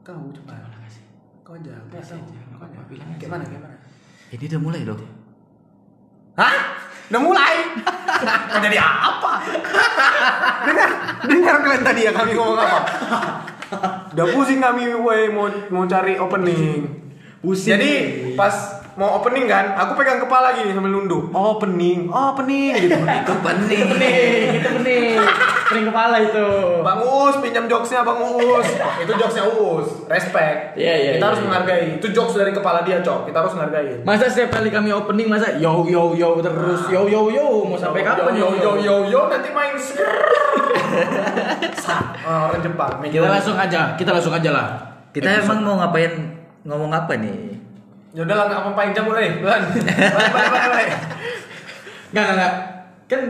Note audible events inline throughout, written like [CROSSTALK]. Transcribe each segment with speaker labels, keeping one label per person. Speaker 1: kau coba kau aja kau tahu
Speaker 2: Kasih aja, nggak
Speaker 1: kau
Speaker 2: apa-apa,
Speaker 1: aja.
Speaker 2: bilang aja.
Speaker 1: gimana gimana
Speaker 3: Eh,
Speaker 4: Ini udah mulai loh.
Speaker 1: hah udah mulai [LAUGHS] Mau jadi apa [LAUGHS] dengar dengar kalian tadi ya kami ngomong apa
Speaker 2: Udah pusing kami woi mau mau cari opening.
Speaker 4: Pusing.
Speaker 2: Jadi pas mau opening kan, aku pegang kepala gini sambil nunduk. Oh, Opening, opening gitu.
Speaker 4: Itu pening.
Speaker 3: Oh, Pening, itu pening. Pening kepala itu.
Speaker 2: Bang Uus pinjam jokesnya Bang
Speaker 3: [LAUGHS]
Speaker 2: Uus. Itu jokesnya Uus. Respect.
Speaker 3: Iya, iya, iya,
Speaker 2: Kita harus
Speaker 3: iya.
Speaker 2: menghargai. Itu jokes dari kepala dia, Cok. Kita harus menghargai.
Speaker 3: Masa setiap kali kami opening masa yo yo yo terus yo yo yo mau sampai kapan
Speaker 2: Yo yo yo yo nanti main Sa- Ah, orang Jepang. main
Speaker 3: Kita
Speaker 2: yo.
Speaker 3: langsung aja, kita langsung aja lah.
Speaker 4: Kita emang mau ngapain? Ngomong apa nih?
Speaker 2: Ya udah lah nggak apa-apa yang jamu eh. Bulan. Balik balik balik,
Speaker 3: [LAUGHS]
Speaker 2: balik.
Speaker 3: Enggak, enggak, enggak. Kan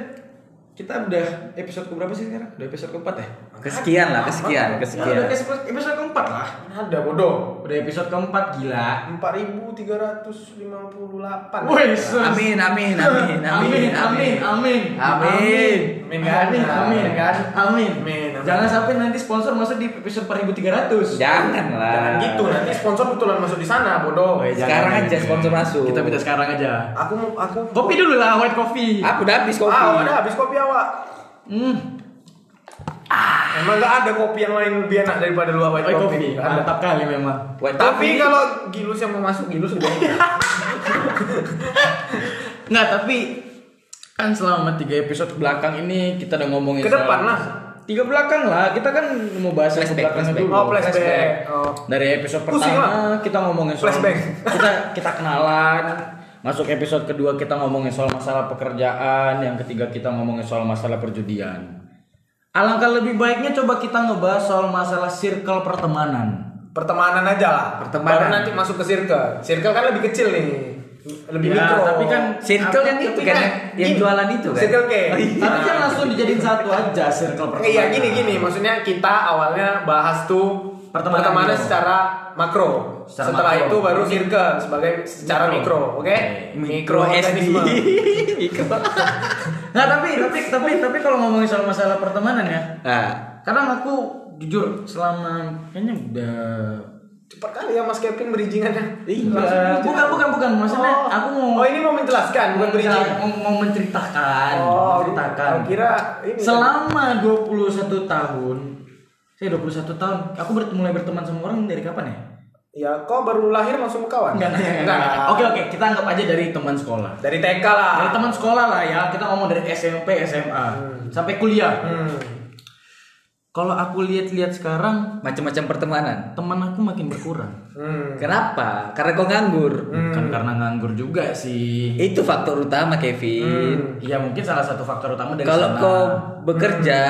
Speaker 3: kita udah episode ke berapa sih sekarang? Udah episode keempat ya?
Speaker 4: Kesekian lah,
Speaker 3: Ya, udah
Speaker 4: kesekian, kesekian.
Speaker 3: episode, episode keempat lah.
Speaker 2: Ada bodoh.
Speaker 3: Udah episode keempat gila.
Speaker 2: 4358.
Speaker 3: Wih, sus.
Speaker 4: Amin, amin, amin, amin, amin.
Speaker 3: amin,
Speaker 4: Amin.
Speaker 2: Amin, kan?
Speaker 3: amin, amin,
Speaker 2: Amin, kan?
Speaker 3: amin,
Speaker 2: Amin, amin.
Speaker 3: Jangan sampai nanti sponsor masuk di episode 4300.
Speaker 4: Jangan
Speaker 2: Jangan
Speaker 4: lah.
Speaker 2: gitu nanti sponsor betulan masuk di sana
Speaker 3: Oh,
Speaker 2: bodoh.
Speaker 4: Woi, Sekarang aja sponsor masuk.
Speaker 3: iya, Kita minta sekarang aja.
Speaker 2: Aku mau aku
Speaker 3: Kopi dulu lah, white coffee.
Speaker 4: Aku udah habis kopi.
Speaker 2: Ah, udah habis kopi awak.
Speaker 3: Hmm,
Speaker 2: Emang gak ada kopi yang lain lebih enak daripada lu awak
Speaker 3: white coffee.
Speaker 2: Nggak ada.
Speaker 3: Mantap kali memang.
Speaker 4: White
Speaker 2: Tapi
Speaker 4: coffee.
Speaker 2: kalau Gilus yang mau masuk Gilus udah.
Speaker 3: Nggak, tapi kan selama tiga episode belakang ini kita udah ngomongin
Speaker 2: Ke depan
Speaker 3: soal-
Speaker 2: lah.
Speaker 3: Tiga belakang lah, kita kan mau bahas yang ke
Speaker 4: Flashback,
Speaker 3: belakang
Speaker 4: flashback.
Speaker 3: dulu.
Speaker 2: Oh, flashback. Oh.
Speaker 3: Dari episode
Speaker 2: Pusing
Speaker 3: pertama kita ngomongin soal
Speaker 2: Flashback. [LAUGHS]
Speaker 3: kita kita kenalan. Masuk episode kedua kita ngomongin soal masalah pekerjaan, yang ketiga kita ngomongin soal masalah perjudian. Alangkah lebih baiknya coba kita ngebahas soal masalah circle pertemanan.
Speaker 2: Pertemanan aja lah.
Speaker 4: Pertemanan.
Speaker 2: Baru nanti masuk ke circle. Circle kan lebih kecil nih. Lebih
Speaker 3: Ya,
Speaker 2: mikro.
Speaker 3: tapi kan
Speaker 4: Circle yang itu
Speaker 3: Tapi
Speaker 4: kan
Speaker 3: kan
Speaker 4: yang, yang
Speaker 2: gini.
Speaker 4: jualan itu kan.
Speaker 2: Circle cake.
Speaker 3: Tapi kan langsung dijadiin satu aja circle pertemanan.
Speaker 2: Iya gini gini maksudnya kita awalnya bahas tuh
Speaker 3: Pertemanan
Speaker 2: pertemanan,
Speaker 3: dulu.
Speaker 2: secara makro.
Speaker 3: Secara
Speaker 2: Setelah
Speaker 3: makro.
Speaker 2: itu baru circle sebagai secara mikro, oke? Mikro
Speaker 3: [LAUGHS]
Speaker 2: organisme.
Speaker 3: Nah tapi tapi tapi tapi kalau ngomongin soal masalah pertemanan ya,
Speaker 4: Nah,
Speaker 2: Ah.
Speaker 3: kadang aku jujur selama kayaknya udah
Speaker 2: Cepat kali ya Mas Kevin berijingannya.
Speaker 3: Iya, bukan bukan bukan maksudnya
Speaker 2: Oh.
Speaker 3: aku mau
Speaker 2: Oh, ini mau menjelaskan bukan berijing.
Speaker 3: mau, mau menceritakan, mau
Speaker 2: Oh,
Speaker 3: menceritakan.
Speaker 2: aku kira ini.
Speaker 3: selama 21 tahun saya 21 tahun aku ber- mulai berteman sama orang dari kapan ya?
Speaker 2: Ya, kok baru lahir langsung berkawan?
Speaker 3: Enggak, enggak, enggak. Oke oke, kita anggap aja dari teman sekolah.
Speaker 2: Dari TK lah.
Speaker 3: Dari teman sekolah lah ya, kita ngomong dari SMP, SMA sampai kuliah.
Speaker 2: Hmm.
Speaker 3: Kalau aku lihat-lihat sekarang,
Speaker 4: macam-macam pertemanan.
Speaker 3: teman aku makin berkurang.
Speaker 2: Hmm.
Speaker 4: Kenapa? Karena kau nganggur.
Speaker 3: Bukan karena nganggur juga sih.
Speaker 4: Itu faktor utama,
Speaker 2: Hmm.
Speaker 4: Kevin.
Speaker 3: Iya mungkin salah satu faktor utama dari
Speaker 4: Kalau
Speaker 3: sana.
Speaker 4: kau bekerja,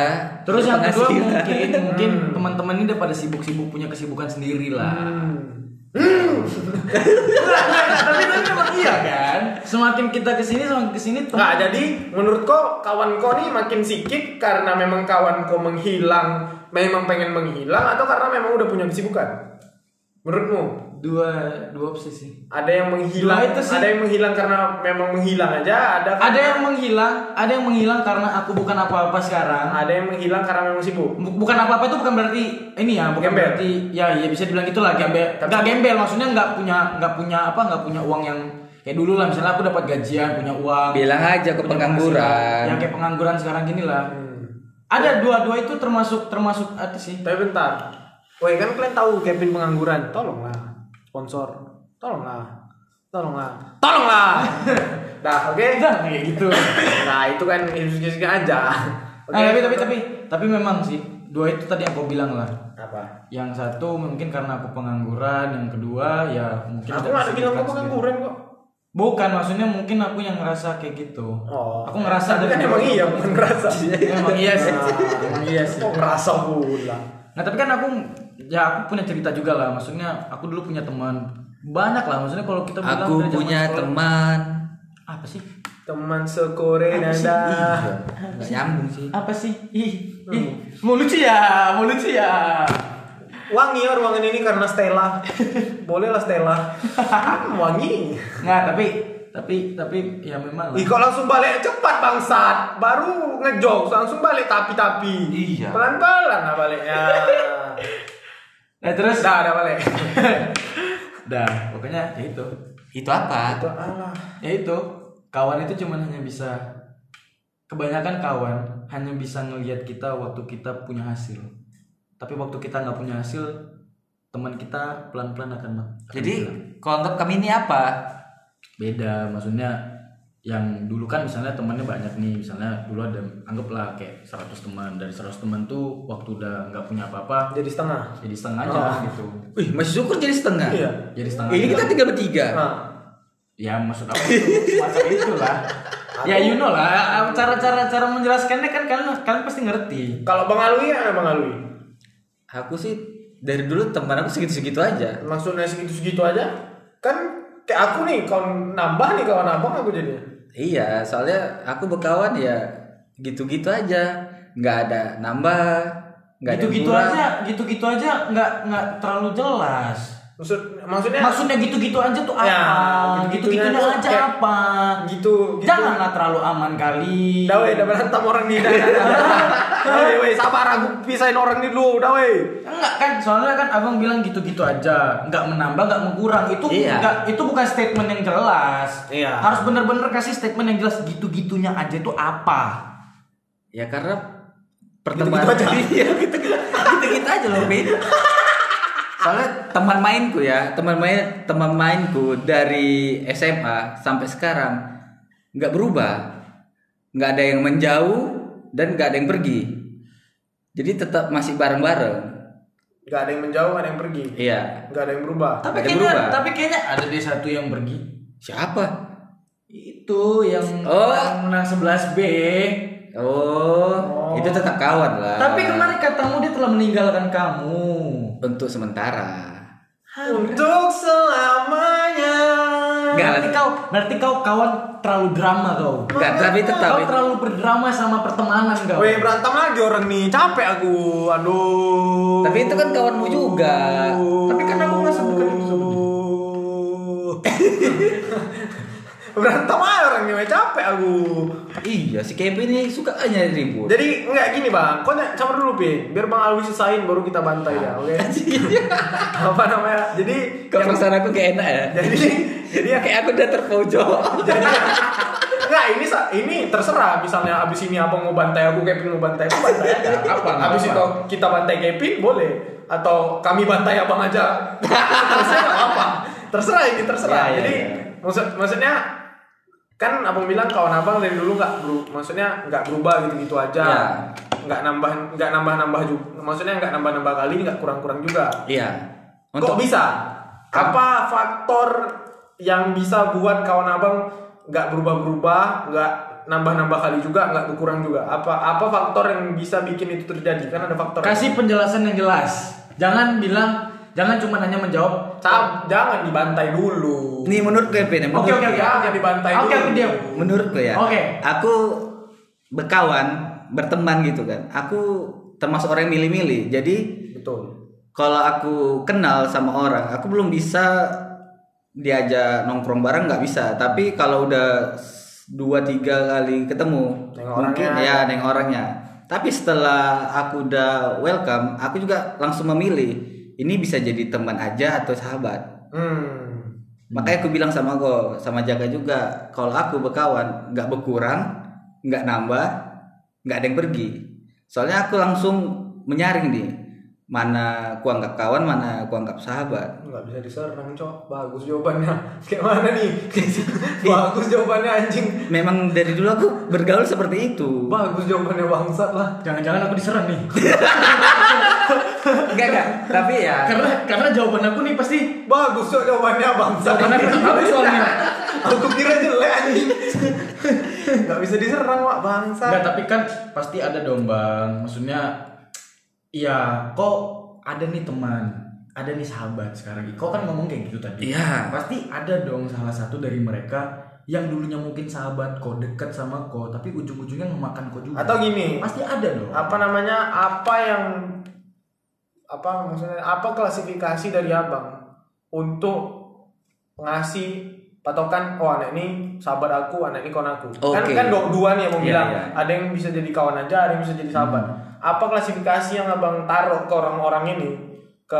Speaker 3: Terus yang kedua
Speaker 4: berpenghasilan.
Speaker 3: mungkin mungkin
Speaker 2: Hmm.
Speaker 3: teman-teman ini udah pada sibuk-sibuk punya kesibukan sendiri lah.
Speaker 2: Hmm.
Speaker 3: Tapi itu memang iya kan. [LAUGHS] Semakin kita kesini semakin kesini
Speaker 2: Nggak,
Speaker 3: teman-
Speaker 2: jadi menurut kok kawan kau nih makin sikit karena memang kawan kau menghilang, memang pengen menghilang atau karena memang udah punya kesibukan? Menurutmu?
Speaker 3: dua dua opsi sih.
Speaker 2: Ada yang
Speaker 3: Nah,
Speaker 2: menghilang,
Speaker 3: itu sih.
Speaker 2: ada yang menghilang karena memang menghilang aja, ada kan?
Speaker 3: Ada yang menghilang, ada yang menghilang karena aku bukan apa-apa sekarang.
Speaker 2: ada yang menghilang karena memang sibuk.
Speaker 3: Bu- bukan apa-apa itu bukan berarti ini ya bukan
Speaker 2: Gembel.
Speaker 3: berarti ya ya bisa dibilang gitulah gembel
Speaker 2: Tapi-
Speaker 3: nggak gembel maksudnya nggak punya nggak punya apa nggak punya uang yang kayak dulu lah misalnya aku dapat gajian punya uang
Speaker 4: bilang aja
Speaker 3: punya
Speaker 4: ke
Speaker 3: penghasilan.
Speaker 4: pengangguran.
Speaker 3: yang kayak pengangguran sekarang gini lah ada dua-dua itu termasuk termasuk apa sih
Speaker 2: Hmm, Tapi bentar. Woi, kan kalian tahu Kevin pengangguran. Tolonglah sponsor. Tolonglah. Tolonglah.
Speaker 3: [LAUGHS]
Speaker 2: Tolonglah. Dah, oke.
Speaker 3: Jangan kayak gitu
Speaker 2: Nah, itu kan diskusi aja. Oke.
Speaker 3: Nah, tapi tapi tapi tapi memang sih dua itu tadi yang aku bilang lah
Speaker 2: apa?
Speaker 3: yang satu mungkin karena aku pengangguran yang kedua ya mungkin ada
Speaker 2: Aku nggak ada
Speaker 3: kesibukan
Speaker 2: bilang kok
Speaker 3: sendiri.
Speaker 2: pengangguran kok.
Speaker 3: Bukan maksudnya mungkin aku yang ngerasa kayak gitu.
Speaker 2: Oh.
Speaker 3: Aku ngerasa
Speaker 2: Tapi kan emang iya, bukan ngerasa.
Speaker 3: [LAUGHS] Emang iya sih.
Speaker 2: Nah,
Speaker 3: Emang iya sih.
Speaker 2: Kok ngerasa pula?
Speaker 3: Nah, tapi kan aku ya aku punya cerita juga lah. Maksudnya aku dulu punya teman banyak lah. Maksudnya kalau kita bilang dari
Speaker 4: Aku
Speaker 3: zaman
Speaker 4: punya
Speaker 3: sekolah-
Speaker 4: teman.
Speaker 3: apa sih?
Speaker 2: Teman sekore nanda.
Speaker 4: Nggak nyambung sih.
Speaker 3: ya. Apa Iya sih? Ih, ih.
Speaker 2: Hmm.
Speaker 3: Mau lucu ya, mau lucu ya.
Speaker 2: Wangi ya ruangan ini karena Stella. Boleh lah Stella. Hmm, wangi.
Speaker 3: Nggak, tapi tapi tapi ya memang lah.
Speaker 2: Ih, kok langsung balik cepat bangsat. Baru ngejok langsung balik tapi-tapi.
Speaker 4: Iya.
Speaker 2: Pelan-pelan lah baliknya.
Speaker 3: Nah terus
Speaker 2: Dah, dah balik.
Speaker 3: [LAUGHS] dah pokoknya ya itu.
Speaker 4: Itu apa?
Speaker 2: Itu Allah.
Speaker 3: Ya itu kawan itu cuman hanya bisa kebanyakan kawan hanya bisa ngelihat kita waktu kita punya hasil. Tapi waktu kita nggak punya hasil teman kita pelan-pelan akan mat- akan
Speaker 4: Jadi
Speaker 3: hilang.
Speaker 4: konsep kami ini apa?
Speaker 3: beda maksudnya yang dulu kan misalnya temannya banyak nih misalnya dulu ada anggaplah kayak 100 teman dari 100 teman tuh waktu udah nggak punya apa-apa
Speaker 2: Jadi setengah.
Speaker 3: jadi setengah aja gitu
Speaker 4: Wih, masih syukur jadi setengah.
Speaker 2: Iya.
Speaker 3: jadi setengah
Speaker 4: Oh. Ini kita tiga bertiga.
Speaker 2: Nah,
Speaker 3: ya maksud aku itu semacam itulah ya you know lah cara-cara cara menjelaskannya kan kalian kalian pasti ngerti
Speaker 2: kalau Bang Alwi ya Bang Alwi.
Speaker 4: Aku sih dari dulu teman aku segitu-segitu aja.
Speaker 2: Maksudnya segitu-segitu aja. Kan kayak aku nih, kau nambah nih kawan abang aku jadinya.
Speaker 4: Iya, soalnya aku berkawan ya gitu-gitu aja. Nggak ada nambah, nggak ada
Speaker 3: gitu-gitu
Speaker 4: kurang.
Speaker 3: aja gitu-gitu aja nggak nggak terlalu jelas
Speaker 2: Maksud maksudnya
Speaker 3: maksudnya gitu-gitu aja tuh apa
Speaker 2: Ya,
Speaker 3: gitu-gitunya
Speaker 2: gitu-gitunya tuh
Speaker 3: aja
Speaker 2: kayak
Speaker 3: apa
Speaker 2: gitu, gitu.
Speaker 3: janganlah terlalu aman kali
Speaker 2: Dah
Speaker 4: iya."
Speaker 2: weh, dah berantem orang nih. [LAUGHS] Dah, dah, dah, dah. Dah, weh, weh, sabar aku pisahin orang nih dulu. Dah weh.
Speaker 3: Enggak kan, soalnya kan abang bilang gitu-gitu aja, nggak menambah, nggak mengkurang. Itu
Speaker 4: Iya.
Speaker 3: nggak, itu bukan statement yang jelas.
Speaker 2: Iya.
Speaker 3: Harus bener-bener kasih statement yang jelas gitu-gitunya aja itu apa.
Speaker 4: Ya karena pertemanan
Speaker 2: Gitu-gitu aja.
Speaker 4: [LAUGHS] Iya, gitu-gitu gitu-gitu aja loh, Pin. Soalnya teman mainku ya, teman main teman mainku dari SMA sampai sekarang nggak berubah. Nggak ada yang menjauh dan nggak ada yang pergi. Jadi tetap masih bareng-bareng.
Speaker 2: Gak ada yang menjauh, gak ada yang pergi.
Speaker 4: Iya.
Speaker 2: Gak ada yang berubah.
Speaker 3: Tapi
Speaker 4: Ada
Speaker 3: kayaknya,
Speaker 4: berubah.
Speaker 3: tapi kayaknya ada deh satu yang pergi.
Speaker 4: Siapa?
Speaker 3: Itu yang
Speaker 4: Oh.
Speaker 3: orang menang 11 B.
Speaker 4: Oh, itu tetap kawan lah.
Speaker 3: Tapi kemarin katamu dia telah meninggalkan kamu.
Speaker 4: untuk sementara.
Speaker 2: Untuk selamanya.
Speaker 4: Nggak lah.
Speaker 3: Berarti kau, berarti kau kawan terlalu drama kau.
Speaker 4: Enggak, tapi tetap
Speaker 3: Kau terlalu berdrama sama pertemanan kau.
Speaker 2: Weh berantem lagi orang nih, capek aku. Aduh.
Speaker 4: Tapi itu kan kawanmu juga.
Speaker 3: Tapi kan aku nggak sebut kan itu.
Speaker 4: [LAUGHS]
Speaker 2: berantem aja orangnya, weh capek aku.
Speaker 4: Iya, si Kevin ini suka aja ribut.
Speaker 2: Jadi nggak gini bang, kau ny- sabar dulu Pin, biar bang Alwi selesain baru kita bantai ya, oke? [LAUGHS] Apa namanya? Jadi
Speaker 4: Kok perasaan aku kayak enak ya?
Speaker 2: jadi jadi ya
Speaker 4: Kayak aku udah terpojok.
Speaker 2: Enggak, ini sa- ini terserah misalnya abis ini abang mau bantai aku Kevin mau bantai aku bantai aja.
Speaker 3: Apa?
Speaker 2: Abis
Speaker 3: Apa?
Speaker 2: itu kita bantai Kevin boleh atau kami bantai abang aja. terserah nggak apa? Terserah ini
Speaker 3: Iya,
Speaker 2: terserah.
Speaker 4: Ya, ya,
Speaker 2: Jadi
Speaker 4: ya.
Speaker 2: maksud maksudnya kan abang bilang kawan abang dari dulu nggak beru- maksudnya nggak berubah gitu gitu aja.
Speaker 4: Ya.
Speaker 3: Iya.
Speaker 2: Nggak nambah nggak nambah nambah juga. Maksudnya nggak nambah nambah kali nggak kurang kurang juga.
Speaker 4: Iya.
Speaker 2: Kok bisa?
Speaker 3: Kan.
Speaker 2: Apa faktor yang bisa buat kawan abang nggak berubah-berubah, nggak nambah-nambah kali juga, nggak berkurang juga? Apa apa faktor yang bisa bikin itu terjadi? Kan ada faktor.
Speaker 3: Kasih penjelasan yang jelas. Jangan bilang, jangan cuma hanya menjawab.
Speaker 2: Cab, jangan dibantai dulu.
Speaker 4: Nih menurut gue Pin, ya,
Speaker 3: Oke
Speaker 4: menurut-
Speaker 3: oke oke.
Speaker 2: Jangan dibantai
Speaker 3: Oke
Speaker 2: dulu.
Speaker 3: oke diam.
Speaker 4: menurutku ya.
Speaker 3: Oke.
Speaker 4: Aku berkawan, berteman gitu kan. Aku termasuk orang yang milih-milih. Jadi
Speaker 2: Betul.
Speaker 4: kalau aku kenal sama orang, aku belum bisa diajak nongkrong bareng nggak bisa. Tapi kalau udah s- dua tiga kali ketemu,
Speaker 2: Nengok
Speaker 4: mungkin
Speaker 2: orangnya.
Speaker 4: ya neng orangnya. Tapi setelah aku udah welcome, aku juga langsung memilih. Ini bisa jadi teman aja atau sahabat.
Speaker 2: Hmm.
Speaker 4: Makanya aku bilang sama kau, sama jaga juga. Kalau aku berkawan, nggak berkurang, nggak nambah, nggak ada yang pergi. Soalnya aku langsung menyaring nih, mana ku anggap kawan, mana ku anggap sahabat.
Speaker 2: Nggak bisa diserang, cok. Bagus jawabannya. [LAUGHS] Kayak mana nih?
Speaker 3: [LAUGHS]
Speaker 2: Bagus jawabannya anjing.
Speaker 4: Memang dari dulu aku bergaul seperti itu.
Speaker 2: Bagus jawabannya bangsat lah.
Speaker 3: Jangan-jangan aku diserang nih.
Speaker 4: Enggak enggak, tapi ya
Speaker 3: [LAUGHS] karena karena jawaban aku nih pasti
Speaker 2: Bagus cok jawabannya bangsat.
Speaker 3: jawaban
Speaker 2: [LAUGHS]
Speaker 3: aku aku soalnya.
Speaker 2: Aku kira jelek anjing. Gak bisa diserang Wak bangsa.
Speaker 3: Enggak, tapi kan pasti ada dong bang. Maksudnya, iya kok ada nih teman, ada nih sahabat sekarang. Kau kan ngomong kayak gitu tadi.
Speaker 4: Iya.
Speaker 3: Pasti ada dong salah satu dari mereka yang dulunya mungkin sahabat kau deket sama kau, tapi ujung-ujungnya ngemakan kau juga.
Speaker 2: Atau gini,
Speaker 3: pasti ada dong.
Speaker 2: apa namanya? Apa yang apa maksudnya? Apa klasifikasi dari abang untuk ngasih patokan oh anak ini sahabat aku, anak ini kawan aku. Kan
Speaker 4: Oke.
Speaker 2: kan dua, dua nih abang
Speaker 4: Iya,
Speaker 2: bilang.
Speaker 4: iya. Hmm.
Speaker 2: Ada yang bisa jadi kawan aja, ada yang bisa jadi sahabat. Apa klasifikasi yang abang taruh ke orang-orang ini? ke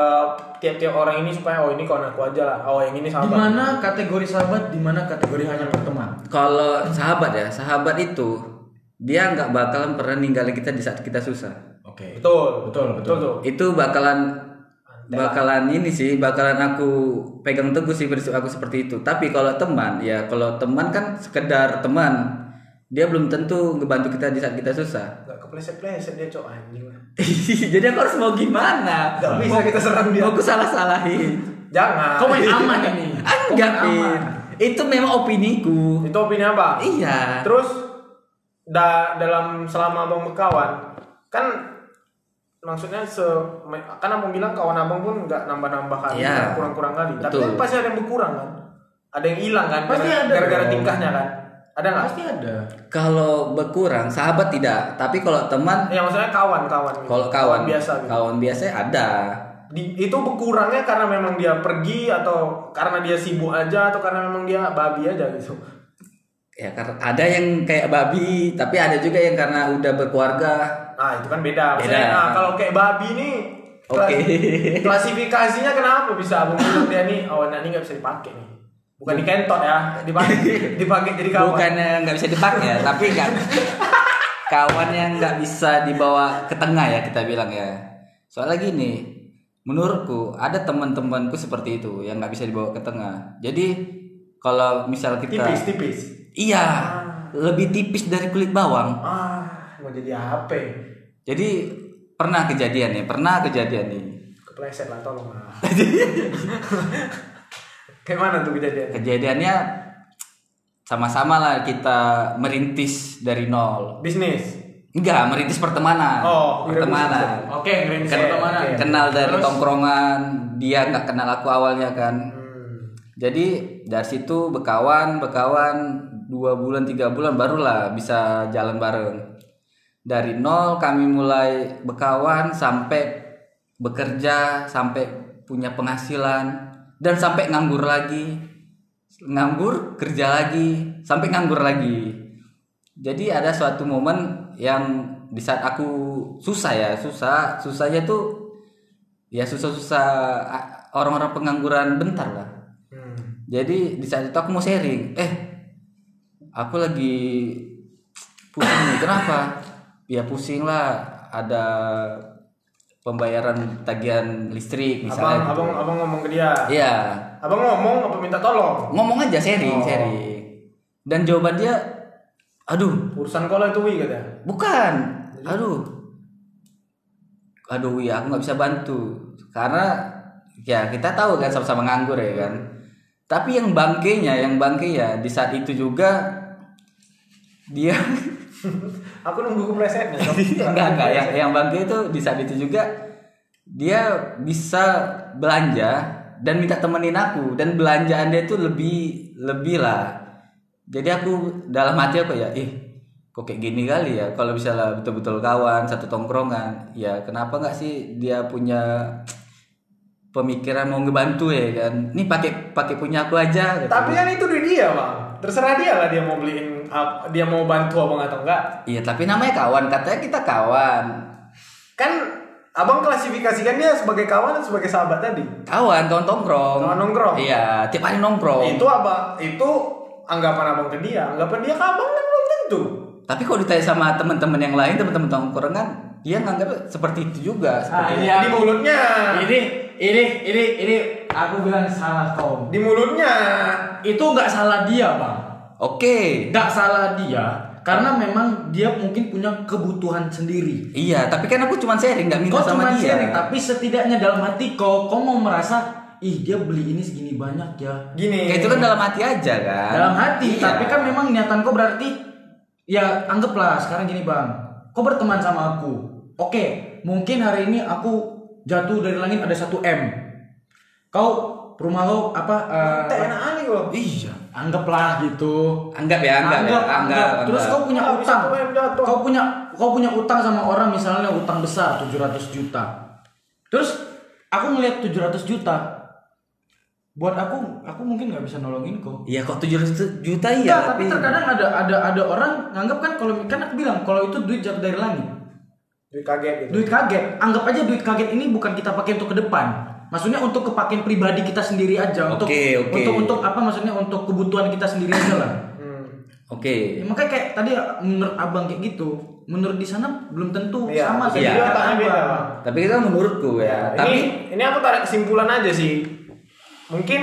Speaker 2: tiap-tiap orang ini supaya oh ini kawan aku aja lah oh yang ini sahabat
Speaker 3: Di mana kategori sahabat, di mana kategori hanya berteman?
Speaker 4: Kalau sahabat ya, sahabat itu dia nggak bakalan pernah ninggalin kita di saat kita susah.
Speaker 3: Oke.
Speaker 2: betul
Speaker 3: Betul, betul.
Speaker 2: tuh
Speaker 4: Itu bakalan bakalan ini sih, bakalan aku pegang teguh sih prinsip aku seperti itu. Tapi kalau teman ya, kalau teman kan sekedar teman. Dia belum tentu ngebantu kita di saat kita susah. [LAUGHS]
Speaker 2: nggak kepleset-pleset dia cok anjing lah
Speaker 4: Jadi aku harus mau gimana?
Speaker 2: Nggak bisa kita serang dia.
Speaker 4: Mau aku salah-salahin.
Speaker 2: [LAUGHS] jangan
Speaker 3: Kau main aman
Speaker 2: [LAUGHS]
Speaker 3: ini. Kau main
Speaker 4: Enggak, Pin. Itu memang opiniku.
Speaker 2: itu opini apa
Speaker 4: Iya.
Speaker 2: Terus da dalam selama abang berkawan kan maksudnya se kan abang bilang kawan abang pun nggak nambah-nambah kali,
Speaker 4: Iya.
Speaker 2: nggak kurang-kurang kali. Tapi kan
Speaker 4: Betul.
Speaker 2: pasti ada yang berkurang kan, ada yang hilang kan,
Speaker 3: Pasti
Speaker 2: gara-
Speaker 3: ada
Speaker 2: gara-gara
Speaker 3: dong.
Speaker 2: tingkahnya kan. Ada nggak?
Speaker 3: Pasti ada.
Speaker 4: Kalau berkurang, sahabat tidak. Tapi kalau teman,
Speaker 2: Ya maksudnya kawan-kawan. gitu.
Speaker 4: kalau kawan,
Speaker 2: biasa. Gitu.
Speaker 4: kawan biasa ada.
Speaker 2: Di- itu berkurangnya karena memang dia pergi atau karena dia sibuk aja atau karena memang dia babi aja gitu.
Speaker 4: Ya karena ada yang kayak babi, tapi ada juga yang karena udah berkeluarga.
Speaker 2: Nah itu kan beda. Maksudnya,
Speaker 4: Beda.
Speaker 2: nah, kalau kayak babi nih, klas-
Speaker 4: Oke.
Speaker 2: klasifikasinya kenapa bisa abang bilang dia nih, oh nah ini nggak bisa dipakai nih. Bukan di kentot ya, dipakai,
Speaker 4: [LAUGHS]
Speaker 2: dipakai jadi [LAUGHS] kawan.
Speaker 4: Bukannya nggak bisa dipakai, ya, tapi
Speaker 2: [LAUGHS]
Speaker 4: nggak kawan yang nggak bisa dibawa ke tengah ya kita bilang ya. Soalnya gini, menurutku ada teman-temanku seperti itu yang nggak bisa dibawa ke tengah. Jadi kalau misal kita
Speaker 2: Tipis Ah. tipis.
Speaker 4: Iya, lebih tipis dari kulit bawang.
Speaker 2: Ah mau jadi apa? ya?
Speaker 4: Jadi pernah kejadian nih, pernah kejadian nih.
Speaker 2: Kepleset lah tolong
Speaker 4: [LAUGHS]
Speaker 2: lah. kayak mana tuh kejadian?
Speaker 4: Kejadiannya sama-sama lah kita merintis dari nol.
Speaker 2: Bisnis.
Speaker 4: Enggak, merintis pertemanan.
Speaker 2: Oh, kira
Speaker 4: pertemanan.
Speaker 3: iya, Oke, ngerinis
Speaker 4: Ken-
Speaker 3: pertemanan.
Speaker 4: Kenal dari
Speaker 3: Terus?
Speaker 4: tongkrongan, dia nggak kenal aku awalnya kan.
Speaker 2: Hmm.
Speaker 4: Jadi dari situ bekawan, bekawan dua bulan tiga bulan barulah bisa jalan bareng. Dari nol kami mulai bekawan sampai bekerja sampai punya penghasilan dan sampai nganggur lagi, nganggur kerja lagi sampai nganggur lagi. Jadi ada suatu momen yang di saat aku susah ya susah susahnya tuh ya susah-susah ah, orang-orang pengangguran bentar lah
Speaker 2: Hmm.
Speaker 4: jadi di saat itu aku mau sharing eh aku lagi pusing nih kenapa ya pusing lah ada pembayaran tagihan listrik
Speaker 2: Abang,
Speaker 4: misalnya gitu.
Speaker 2: abang, abang ngomong ke dia.
Speaker 4: iya
Speaker 2: Abang ngomong apa minta tolong?
Speaker 4: ngomong aja sharing
Speaker 2: Oh.
Speaker 4: sharing dan jawaban dia aduh
Speaker 2: Urusan kau lah itu wi katanya.
Speaker 4: bukan aduh aduh ya aku nggak bisa bantu karena ya kita tahu kan sama-sama nganggur ya kan tapi yang bangkainya yang bangke ya di saat itu juga dia [LAUGHS]
Speaker 2: Aku nunggu keplesetnya.
Speaker 4: enggak enggak ya. yang yang bangke itu di saat itu juga dia bisa belanja dan minta temenin aku dan belanjaan dia itu lebih lebih lah jadi aku dalam hati aku ya ih kok kayak gini kali ya kalau misalnya betul-betul kawan satu tongkrongan ya kenapa nggak sih dia punya pemikiran mau ngebantu ya kan ini pakai pakai punya aku aja gitu. kata
Speaker 2: Tapi
Speaker 4: dia.
Speaker 2: kan itu duit dia bang. Terserah dia lah dia mau beliin, ap- dia mau bantu abang atau enggak.
Speaker 4: iya tapi namanya kawan katanya kita kawan
Speaker 2: Kan abang klasifikasikan dia sebagai kawan dan sebagai sahabat tadi.
Speaker 4: kawan kawan tongkrong
Speaker 2: Kawan nongkrong.
Speaker 4: iya tiap hari nongkrong
Speaker 2: Itu abang, itu anggapan abang ke dia. Anggapan dia ke abang kan belum tentu.
Speaker 4: Tapi kalau ditanya sama teman-teman yang lain, teman-teman tongkrongan, dia nganggap seperti itu
Speaker 3: Ah,
Speaker 4: juga. seperti-
Speaker 3: iya.
Speaker 2: Di mulutnya,
Speaker 3: Nah, Ini, ini, ini, ini aku bilang salah kaum.
Speaker 2: di mulutnya.
Speaker 3: Itu nggak salah dia, bang.
Speaker 4: Oke,
Speaker 3: Nggak salah dia, karena memang dia mungkin punya kebutuhan sendiri.
Speaker 4: iya. Tapi kan aku cuma sharing, nggak
Speaker 3: Kau
Speaker 4: minta sama
Speaker 3: cuma
Speaker 4: dia.
Speaker 3: sharing, tapi setidaknya dalam hati kau, kau mau merasa, ih dia beli ini segini banyak ya.
Speaker 2: Gini.
Speaker 4: Ya, itu kan dalam hati aja kan.
Speaker 3: dalam hati
Speaker 4: Iya.
Speaker 3: tapi kan memang niatan kau berarti ya anggaplah sekarang gini bang kau berteman sama aku oke mungkin hari ini aku jatuh dari langit ada satu m kau rumah kau apa eh,
Speaker 2: Tak enak aneh kok.
Speaker 3: iya anggaplah gitu
Speaker 4: anggap ya, anggap, ya, anggap.
Speaker 3: terus
Speaker 4: anggap.
Speaker 3: kau punya
Speaker 2: Ah, bisa
Speaker 3: utang
Speaker 2: tuh yang jatuh.
Speaker 3: kau punya kau punya utang sama orang misalnya utang besar 700 juta terus aku ngelihat 700 juta buat aku aku mungkin nggak bisa nolongin kau
Speaker 4: Iya kok 700 juta iya.
Speaker 3: Iya, tapi terkadang ada ada ada orang nganggap kan kalau kan aku bilang kalau itu duit jatuh dari langit.
Speaker 2: duit kaget gitu
Speaker 3: duit kaget anggap aja duit kaget ini bukan kita pakai untuk ke depan maksudnya untuk kepakian pribadi kita sendiri aja untuk
Speaker 4: Oke, oke.
Speaker 3: untuk untuk apa maksudnya untuk kebutuhan kita sendiri aja lah
Speaker 2: Hmm.
Speaker 3: Ya,
Speaker 4: Oke.
Speaker 3: makanya kayak tadi menurut abang kayak gitu menurut di sana belum tentu
Speaker 2: Iya,
Speaker 3: sama
Speaker 2: bisa
Speaker 3: kata
Speaker 4: jadi
Speaker 2: otaknya
Speaker 3: abang.
Speaker 2: beda, Bang.
Speaker 4: Tapi itu kan menurutku ya.
Speaker 2: Ini,
Speaker 4: Tapi
Speaker 2: ini aku tarik kesimpulan aja sih. Mungkin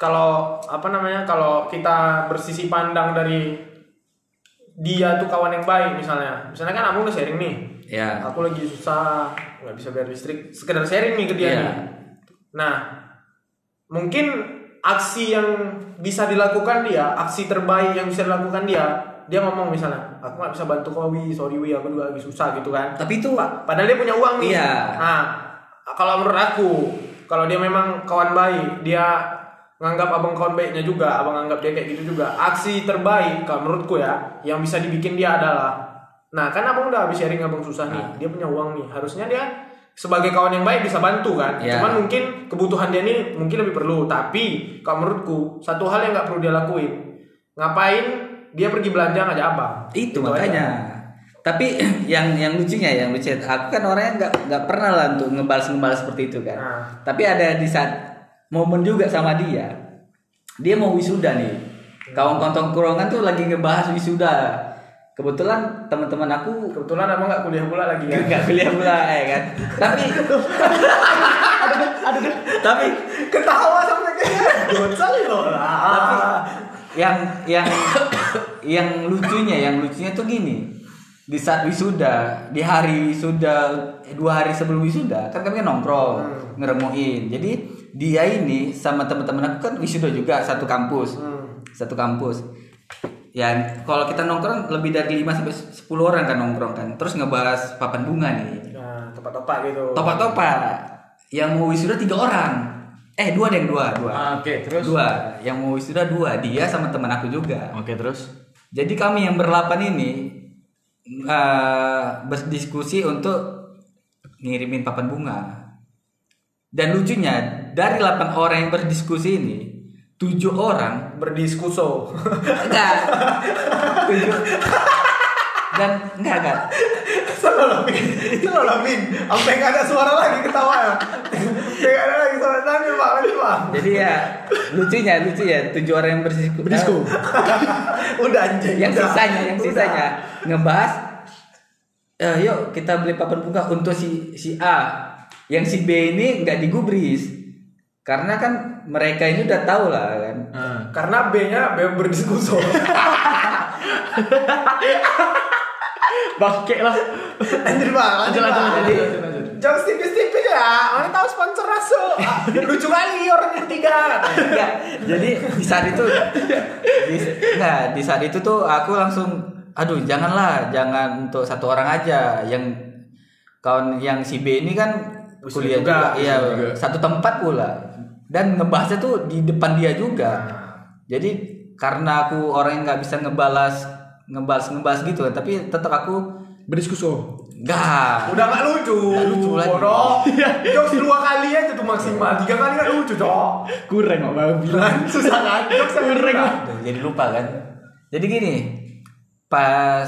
Speaker 2: kalau apa namanya kalau kita bersisi pandang dari dia tuh kawan yang baik misalnya. Misalnya kan aku udah sharing nih.
Speaker 4: ya.
Speaker 2: Aku lagi susah, nggak bisa bayar listrik. Sekedar sharing nih ke dia.
Speaker 4: Iya.
Speaker 2: nih. Nah, mungkin aksi yang bisa dilakukan dia, aksi terbaik yang bisa dilakukan dia, dia ngomong misalnya, aku nggak bisa bantu kau, Wi. sorry wi, aku juga lagi susah gitu kan.
Speaker 4: Tapi itu
Speaker 2: Padahal dia punya uang nih.
Speaker 4: Iya.
Speaker 2: Nah, kalau menurut aku, kalau dia memang kawan baik, dia nganggap abang kawan baiknya juga, abang nganggap dia kayak gitu juga. Aksi terbaik, kalau menurutku ya, yang bisa dibikin dia adalah, nah kan abang udah habis sharing abang susah
Speaker 4: Nah.
Speaker 2: nih, dia punya uang nih, harusnya dia sebagai kawan yang baik bisa bantu kan.
Speaker 4: Iya.
Speaker 2: Cuman mungkin kebutuhan dia ini mungkin lebih perlu. Tapi kalau menurutku, satu hal yang nggak perlu dia lakuin, ngapain dia pergi belanja ngajak abang?
Speaker 4: itu
Speaker 2: Gitu
Speaker 4: makanya
Speaker 2: aja.
Speaker 4: tapi [CLEARS THROAT] yang yang lucunya yang lucu aku kan orangnya nggak nggak pernah lah untuk ngebalas ngebalas seperti itu kan
Speaker 2: Nah.
Speaker 4: tapi ada di saat momen juga sama dia dia mau wisuda nih kawan-kawan tongkrongan tuh lagi ngebahas wisuda kebetulan teman-teman aku
Speaker 2: Kebetulan abang nggak kuliah pula lagi ya.
Speaker 4: nggak kuliah pula ya kan tapi tapi
Speaker 2: ketawa sampai kayak dosa loh
Speaker 4: tapi yang yang yang lucunya yang lucunya tuh gini di saat wisuda di hari wisuda eh, dua hari sebelum wisuda kan kami kan nongkrong ngeremuin jadi dia ini sama teman-teman aku kan wisuda juga satu kampus satu kampus ya kalau kita nongkrong lebih dari 5 sampai 10 orang kan nongkrong kan terus ngebahas papan bunga nih
Speaker 2: nah tepat-tepat gitu
Speaker 4: topa-topa yang mau wisuda tiga orang eh dua deh dua dua
Speaker 3: Ah, oke, terus?
Speaker 4: dua yang mau wisuda dua dia sama teman aku juga
Speaker 3: oke terus
Speaker 4: jadi kami yang berlapan ini eh, berdiskusi untuk ngirimin papan bunga dan lucunya dari 8 orang yang berdiskusi ini tujuh orang [LAUGHS]
Speaker 2: berdiskuso [LAUGHS]
Speaker 4: enggak tujuh dan enggak enggak
Speaker 2: selolamin selolamin sampai nggak ada suara lagi ketawa ya sampai nggak ada lagi suara nanti pak nanti pak
Speaker 4: jadi ya lucunya lucu ya tujuh orang yang berdiskusi [LAUGHS]
Speaker 2: udah anjing
Speaker 4: yang
Speaker 2: udah.
Speaker 4: sisanya yang
Speaker 2: Udah.
Speaker 4: sisanya ngebahas eh, yuk kita beli papan bunga untuk si si A yang si B ini nggak digubris karena kan mereka ini udah tahu lah kan
Speaker 3: Iya.
Speaker 2: karena B nya B berdiskuso
Speaker 3: bangke lah
Speaker 2: anjir pak
Speaker 3: Lanjut, lanjut, lanjut, lanjut, lanjut.
Speaker 2: jauh tipis-tipis ya mana tahu sponsor raso Ah, lucu kali orang ketiga
Speaker 4: Nggak, jadi di saat itu di, nah di saat itu tuh aku langsung aduh janganlah jangan untuk satu orang aja yang kawan yang si B ini kan
Speaker 2: Wisuda
Speaker 4: kuliah
Speaker 2: juga,
Speaker 4: juga, iya
Speaker 2: wisuda juga.
Speaker 4: satu tempat pula dan ngebahasnya tuh di depan dia
Speaker 2: Ah.
Speaker 4: juga jadi karena aku orang yang nggak bisa ngebalas ngebalas ngebalas gitu kan tapi tetap aku
Speaker 1: Berdiskuso.
Speaker 4: nggak
Speaker 2: udah nggak lucu
Speaker 4: Nggak lucu lagi. Iya.
Speaker 2: bodoh jokes dua kali aja tuh maksimal tiga kali nggak lucu cok
Speaker 3: kurang kok bang bilang
Speaker 2: susah kan jokes yang kurang
Speaker 4: Aduh, jadi lupa kan. Jadi gini, pas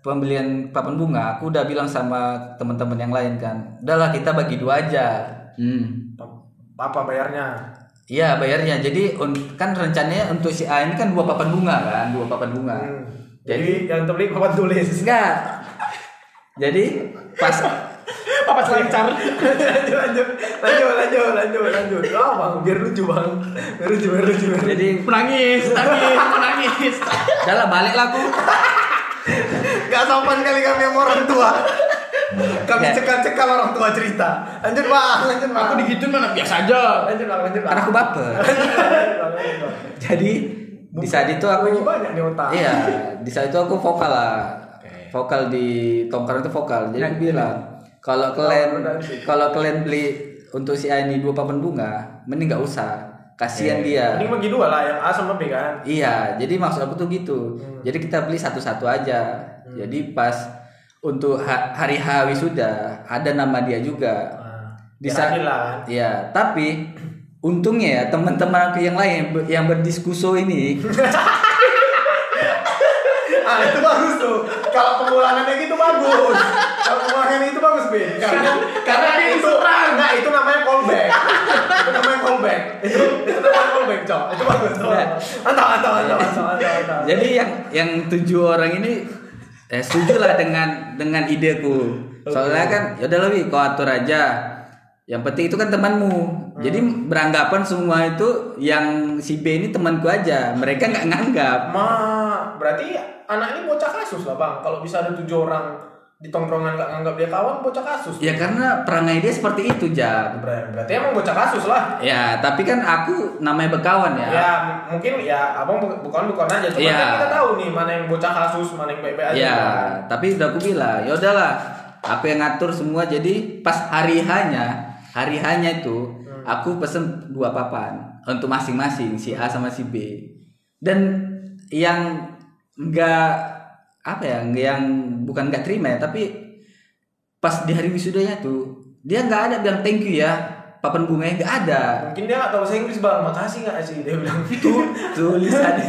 Speaker 4: pembelian papan bunga, aku udah bilang sama teman-teman yang lain kan, udahlah kita bagi dua aja. Hmm.
Speaker 2: apa bayarnya
Speaker 4: Iya bayarnya. Jadi un- kan rencananya untuk si A ini kan dua papan bunga kan, dua papan bunga.
Speaker 2: Hmm.
Speaker 4: Jadi
Speaker 2: jadi yang terbeli papan tulis [LAUGHS]
Speaker 4: enggak. Jadi pas
Speaker 3: apa selancar
Speaker 2: lanjut lanjut lanjut lanjut lanjut lanjut oh, bang biar lucu bang biar lucu biar lucu biar lucu.
Speaker 4: jadi
Speaker 3: menangis menangis menangis
Speaker 4: udahlah balik lah aku.
Speaker 2: nggak sopan kali kami sama orang [LAUGHS] tua kami
Speaker 4: Ya.
Speaker 2: cekal cekal orang tua cerita lanjut bang lanjut bang
Speaker 3: aku digituin mana biasa aja
Speaker 2: lanjut bang lanjut bang
Speaker 4: Karena
Speaker 2: [LAUGHS]
Speaker 4: aku baper. Jadi di saat itu aku
Speaker 2: Bagi banyak di otak
Speaker 4: Iya, di saat itu aku vokal lah. Vokal di tongkrongan itu vokal. Jadi
Speaker 2: Nah.
Speaker 4: aku bilang, kalau
Speaker 2: Oh,
Speaker 4: kalian kalau kalian beli untuk si A ini dua papan bunga, mending nggak usah. Kasihan dia.
Speaker 2: ini bagi dua lah yang A sama B kan
Speaker 4: Iya, jadi maksud aku tuh gitu.
Speaker 2: Hmm.
Speaker 4: Jadi kita beli satu-satu aja. Jadi pas untuk ha- hari H wisuda ada nama dia juga.
Speaker 2: Nah,
Speaker 4: Di
Speaker 2: kirain
Speaker 4: saat-
Speaker 2: lah kan
Speaker 4: Iya, tapi untungnya ya
Speaker 2: [LAUGHS]
Speaker 4: teman-teman aku yang lain yang ber- yang berdiskuso ini
Speaker 2: Ah, itu bagus tuh. Kalau pengulangannya gitu bagus. Kalau pengulangannya itu bagus, Bin. Karena karena dia itu enggak itu namanya callback. itu namanya callback. Itu itu namanya callback, Cok. Itu bagus. Cok.
Speaker 4: Nah.
Speaker 2: Mantap, mantap, mantap, mantap, mantap, mantap.
Speaker 4: Jadi yang yang tujuh orang ini eh, setuju lah dengan dengan ideku. Soalnya kan yaudah lebih kau atur aja. Yang penting itu kan temanmu. Jadi beranggapan semua itu yang si B ini temanku aja. Mereka nggak nganggap.
Speaker 2: Ma, berarti anak ini bocah kasus lah, Bang. Kalau bisa ada tujuh orang di tongkrongan nggak nganggap dia kawan, bocah kasus.
Speaker 4: Ya karena perangai dia seperti itu jam.
Speaker 2: Ber- Berarti emang bocah kasus lah.
Speaker 4: Ya tapi kan aku namanya berkawan ya.
Speaker 2: Ya, m- mungkin ya abang bukan bukan aja cuma
Speaker 4: Iya.
Speaker 2: kan kita tahu nih mana yang bocah kasus, mana yang baik-baik aja.
Speaker 4: Ya, tapi udah aku bilang, ya udahlah, aku yang ngatur semua. Jadi pas hari hanya, hari hanya itu aku pesen dua papan untuk masing-masing si A sama si B. Dan yang enggak apa ya, yang bukan enggak terima ya, tapi pas di hari wisudanya tuh dia nggak ada bilang thank you ya, papan bunganya nggak ada.
Speaker 2: Mungkin dia nggak tahu bahasa Inggris bang, makasih nggak sih dia bilang. [LAUGHS]
Speaker 4: Tuh, tulisannya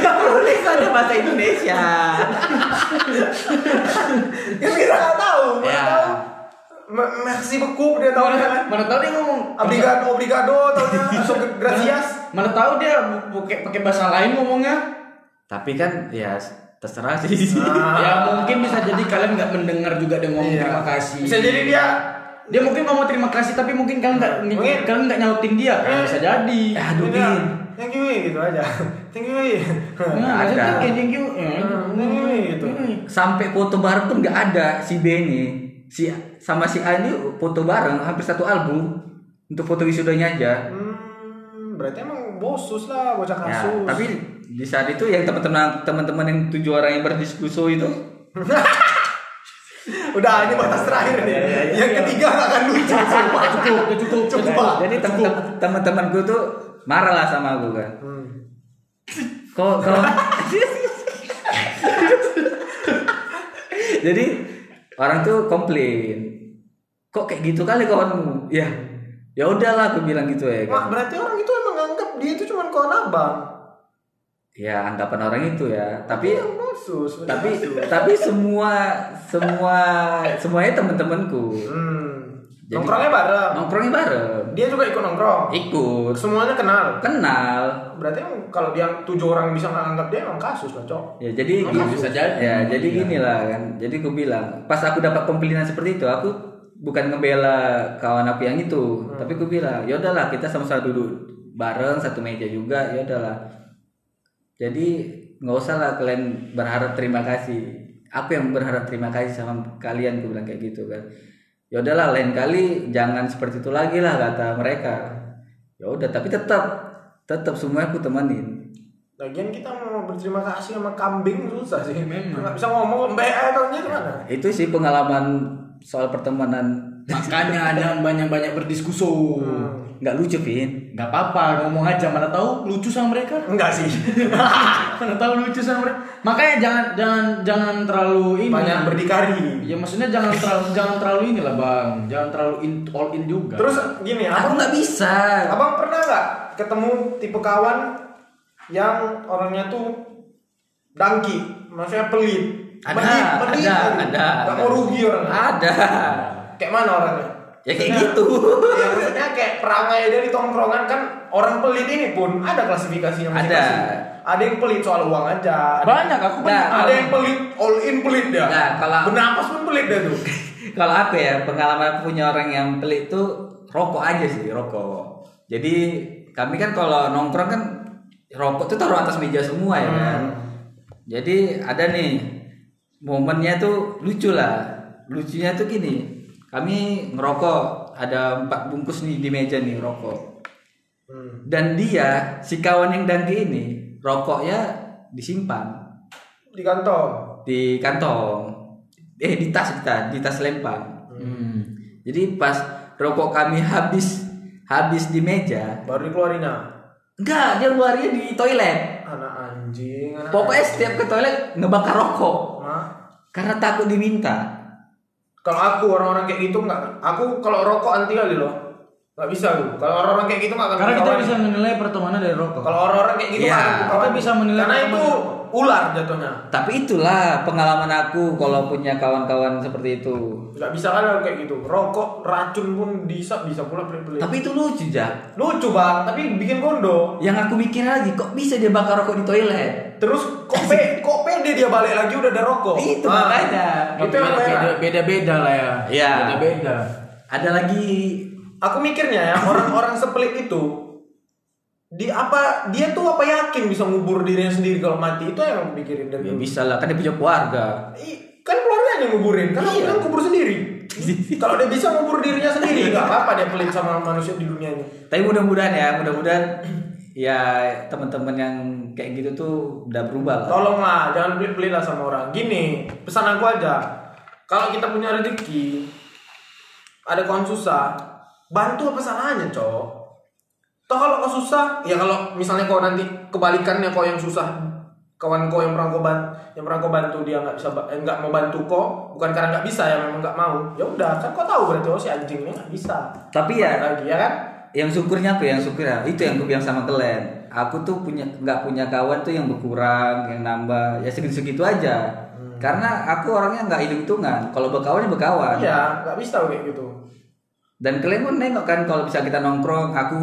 Speaker 4: tulisannya bahasa Indonesia.
Speaker 2: Kan kita nggak tahu, mana
Speaker 4: Ya.
Speaker 2: tahu. me- Merci beaucoup dia tahu kan.
Speaker 3: Mana tahu dia ngomong
Speaker 2: Obrigado, obrigado, tahunya so gracias.
Speaker 3: Mana tahu dia pakai pakai bahasa lain ngomongnya.
Speaker 4: Tapi kan ya terserah sih.
Speaker 3: Ya mungkin bisa jadi kalian nggak mendengar juga dia ngomong
Speaker 2: Ah. Iya.
Speaker 3: terima kasih.
Speaker 2: Bisa jadi dia
Speaker 3: dia mungkin ngomong terima kasih tapi mungkin kalian nggak
Speaker 2: Mungkin. Eh.
Speaker 3: kalian nggak nyautin dia kan bisa jadi. Iya.
Speaker 4: Aduh,
Speaker 2: dia,
Speaker 4: Bin.
Speaker 2: Thank you gitu aja. [LAUGHS] Thank you.
Speaker 3: Nah,
Speaker 4: Ada.
Speaker 3: ada kayak thank you.
Speaker 2: Hmm.
Speaker 4: Nah,
Speaker 2: Thank you gitu.
Speaker 4: Sampai foto bareng pun nggak ada si B ini. Si sama si A ini foto bareng hampir satu album untuk foto wisudanya aja.
Speaker 2: Hmm, berarti emang bosus lah bocah
Speaker 4: Ya,
Speaker 2: kasus.
Speaker 4: tapi di saat itu yang teman-teman teman-teman yang tujuh orang yang berdiskusi itu
Speaker 2: Udah ini batas terakhir nih. Yang ketiga nggak akan lucu. Sumpah.
Speaker 3: Cukup, udah cukup, udah
Speaker 2: Coba.
Speaker 3: cukup.
Speaker 4: jadi teman-teman teman-temanku tuh marah lah sama aku kan.
Speaker 2: Hmm.
Speaker 4: Kok kok [LAUGHS] Jadi orang tuh komplain. Kok kayak gitu kali kawanmu? Ya. Ya udahlah aku bilang gitu ya.
Speaker 2: Mak, berarti orang itu emang nganggap dia itu cuma kawan abang.
Speaker 4: ya anggapan orang itu ya tapi
Speaker 2: Yang Iya, bosus. udah
Speaker 4: tapi
Speaker 2: bosus.
Speaker 4: tapi semua semua semuanya temen-temenku
Speaker 2: Hmm.
Speaker 4: Jadi-
Speaker 2: nongkrongnya bareng.
Speaker 4: nongkrongnya bareng
Speaker 2: Dia juga ikut nongkrong.
Speaker 4: ikut
Speaker 2: Semuanya kenal.
Speaker 4: kenal
Speaker 2: Berarti emang kalau yang tujuh orang bisa nggak nganggap dia emang kasus lah, cok.
Speaker 4: ya jadi
Speaker 3: Emang
Speaker 4: gini-
Speaker 3: Oh, bisa jadi. Iya.
Speaker 4: ya jadi gini lah kan jadi aku bilang pas aku dapat pembelian seperti itu aku bukan ngebela kawan aku yang itu
Speaker 3: Hmm.
Speaker 4: tapi aku bilang ya udahlah kita sama-sama duduk bareng satu meja juga ya udahlah jadi nggak usah lah kalian berharap terima kasih aku yang berharap terima kasih sama kalian aku bilang kayak gitu kan ya udahlah lain kali jangan seperti itu lagi lah kata mereka ya udah tapi tetap tetap semuanya aku temenin
Speaker 2: Lagian kita mau berterima kasih sama kambing susah sih.
Speaker 4: Hmm.
Speaker 2: Memang. Nggak bisa ngomong mbak eh tahunya gimana?
Speaker 4: itu sih pengalaman soal pertemanan
Speaker 3: Makanya jangan banyak-banyak berdiskusi.
Speaker 4: nggak lucu Vin
Speaker 3: Gak apa-apa, ngomong aja mana tahu lucu sama mereka. [LAUGHS]
Speaker 2: Enggak
Speaker 4: [LAUGHS]
Speaker 2: sih.
Speaker 3: Mana tahu lucu sama mereka. Makanya jangan jangan jangan terlalu ini.
Speaker 2: Banyak berdikari.
Speaker 3: Ya maksudnya jangan terlalu jangan terlalu inilah bang, jangan terlalu in, all in juga.
Speaker 2: Terus gini,
Speaker 4: aku
Speaker 2: abang,
Speaker 4: nggak bisa
Speaker 2: abang pernah nggak ketemu tipe kawan yang orangnya tuh dangki, maksudnya pelit.
Speaker 4: Ada,
Speaker 2: Pelit, pelit.
Speaker 4: ada, ada,
Speaker 2: Nggak
Speaker 4: ada.
Speaker 2: mau rugi orangnya.
Speaker 4: ada
Speaker 2: Kayak mana orangnya?
Speaker 4: ya kayak gitu
Speaker 2: [LAUGHS] Ya, maksudnya kayak perangai dia di tongkrongan kan orang pelit ini pun ada klasifikasinya masing-masing.
Speaker 4: Ada.
Speaker 2: Ada yang pelit soal uang aja. ada-
Speaker 3: banyak aku
Speaker 4: Nah,
Speaker 3: banyak.
Speaker 2: Ada yang pelit, all in pelit dia.
Speaker 4: Nah, kalau-
Speaker 2: bernapas pun pelit dia tuh.
Speaker 4: kalau aku ya pengalaman aku punya orang yang pelit tuh rokok aja sih rokok jadi kami kan kalau nongkrong kan rokok tuh taruh atas meja semua ya kan
Speaker 2: Hmm.
Speaker 4: jadi ada nih momennya tuh lucu lah lucunya tuh gini kami ngerokok ada empat bungkus nih di meja nih rokok
Speaker 2: Hmm.
Speaker 4: dan dia si kawan yang dangki ini rokoknya disimpan
Speaker 2: Di kantong.
Speaker 4: di kantong eh di tas di tas, di tas lempang
Speaker 3: Hmm.
Speaker 4: jadi pas rokok kami habis habis di meja
Speaker 2: Baru dikeluarin nah.
Speaker 4: enggak dia luarnya di toilet
Speaker 2: Anak anjing. Anak
Speaker 4: pokoknya setiap ke toilet ngebakar rokok
Speaker 2: Hah?
Speaker 4: karena takut diminta
Speaker 2: Kalau aku orang-orang kayak gitu nggak. Aku kalau rokok anti kali loh. Nggak bisa tuh. Kalau orang-orang kayak gitu nggak akan
Speaker 3: Karena kita
Speaker 2: kawan.
Speaker 3: bisa menilai pertemanan dari rokok.
Speaker 2: Kalau orang-orang kayak gitu
Speaker 4: Iya,
Speaker 2: nggak akan kawan.
Speaker 3: kita bisa menilai
Speaker 2: Karena
Speaker 3: teman.
Speaker 2: itu ular jatuhnya
Speaker 4: Tapi itulah pengalaman aku kalau punya kawan-kawan seperti itu.
Speaker 2: nggak bisa kan kalau kayak gitu rokok racun pun bisa bisa pula pelit-pelit
Speaker 4: Tapi itu lucu, Jak.
Speaker 2: lucu bang tapi bikin gondo
Speaker 4: Yang aku mikir lagi, kok bisa dia bakar rokok di toilet?
Speaker 2: terus kok
Speaker 4: [LAUGHS]
Speaker 2: pe kok pede dia balik lagi udah ada rokok
Speaker 4: Itu
Speaker 2: Ah.
Speaker 4: makanya.
Speaker 2: itu yang
Speaker 3: beda,
Speaker 2: merah.
Speaker 3: beda beda lah ya.
Speaker 4: Iya.
Speaker 3: Beda beda.
Speaker 4: Ada lagi
Speaker 2: aku mikirnya ya orang-orang sepelit itu di apa dia tuh apa yakin bisa ngubur dirinya sendiri kalau mati itu yang aku pikirin dari
Speaker 4: ya
Speaker 2: dulu.
Speaker 4: bisa lah, kan dia punya keluarga.
Speaker 2: Ih, kan keluarganya yang nguburin kan aku
Speaker 4: Iya.
Speaker 2: bilang kubur sendiri kalau dia bisa ngubur dirinya sendiri nggak apa-apa dia pelit sama manusia di dunia ini
Speaker 4: Tapi mudah-mudahan ya, mudah-mudahan [CLEARS THROAT] ya teman-teman yang kayak gitu tuh udah berubah lah.
Speaker 2: tolonglah jangan pelit pelit lah sama orang gini pesan aku aja kalau kita punya rezeki ada kawan susah bantu apa salahnya cok toh kalau kau susah ya kalau misalnya kau nanti kebalikannya kau yang susah kawan kau yang pernah kau bantu yang pernah kau bantu dia nggak bisa ba- eh, nggak mau bantu kau bukan karena nggak bisa ya memang nggak mau ya udah kan kau tahu berarti oh si anjingnya nggak bisa
Speaker 4: Tapi ya-
Speaker 2: Balik lagi ya kan
Speaker 4: yang syukurnya tuh yang syukurnya itu yang gue bilang sama kalian aku tuh punya nggak punya kawan tuh yang berkurang yang nambah ya segitu segitu aja karena aku orangnya nggak hitung hitungan kalau berkawan ya berkawan
Speaker 2: iya nggak bisa kayak gitu
Speaker 4: dan kalian pun nengok kan kalau bisa kita nongkrong aku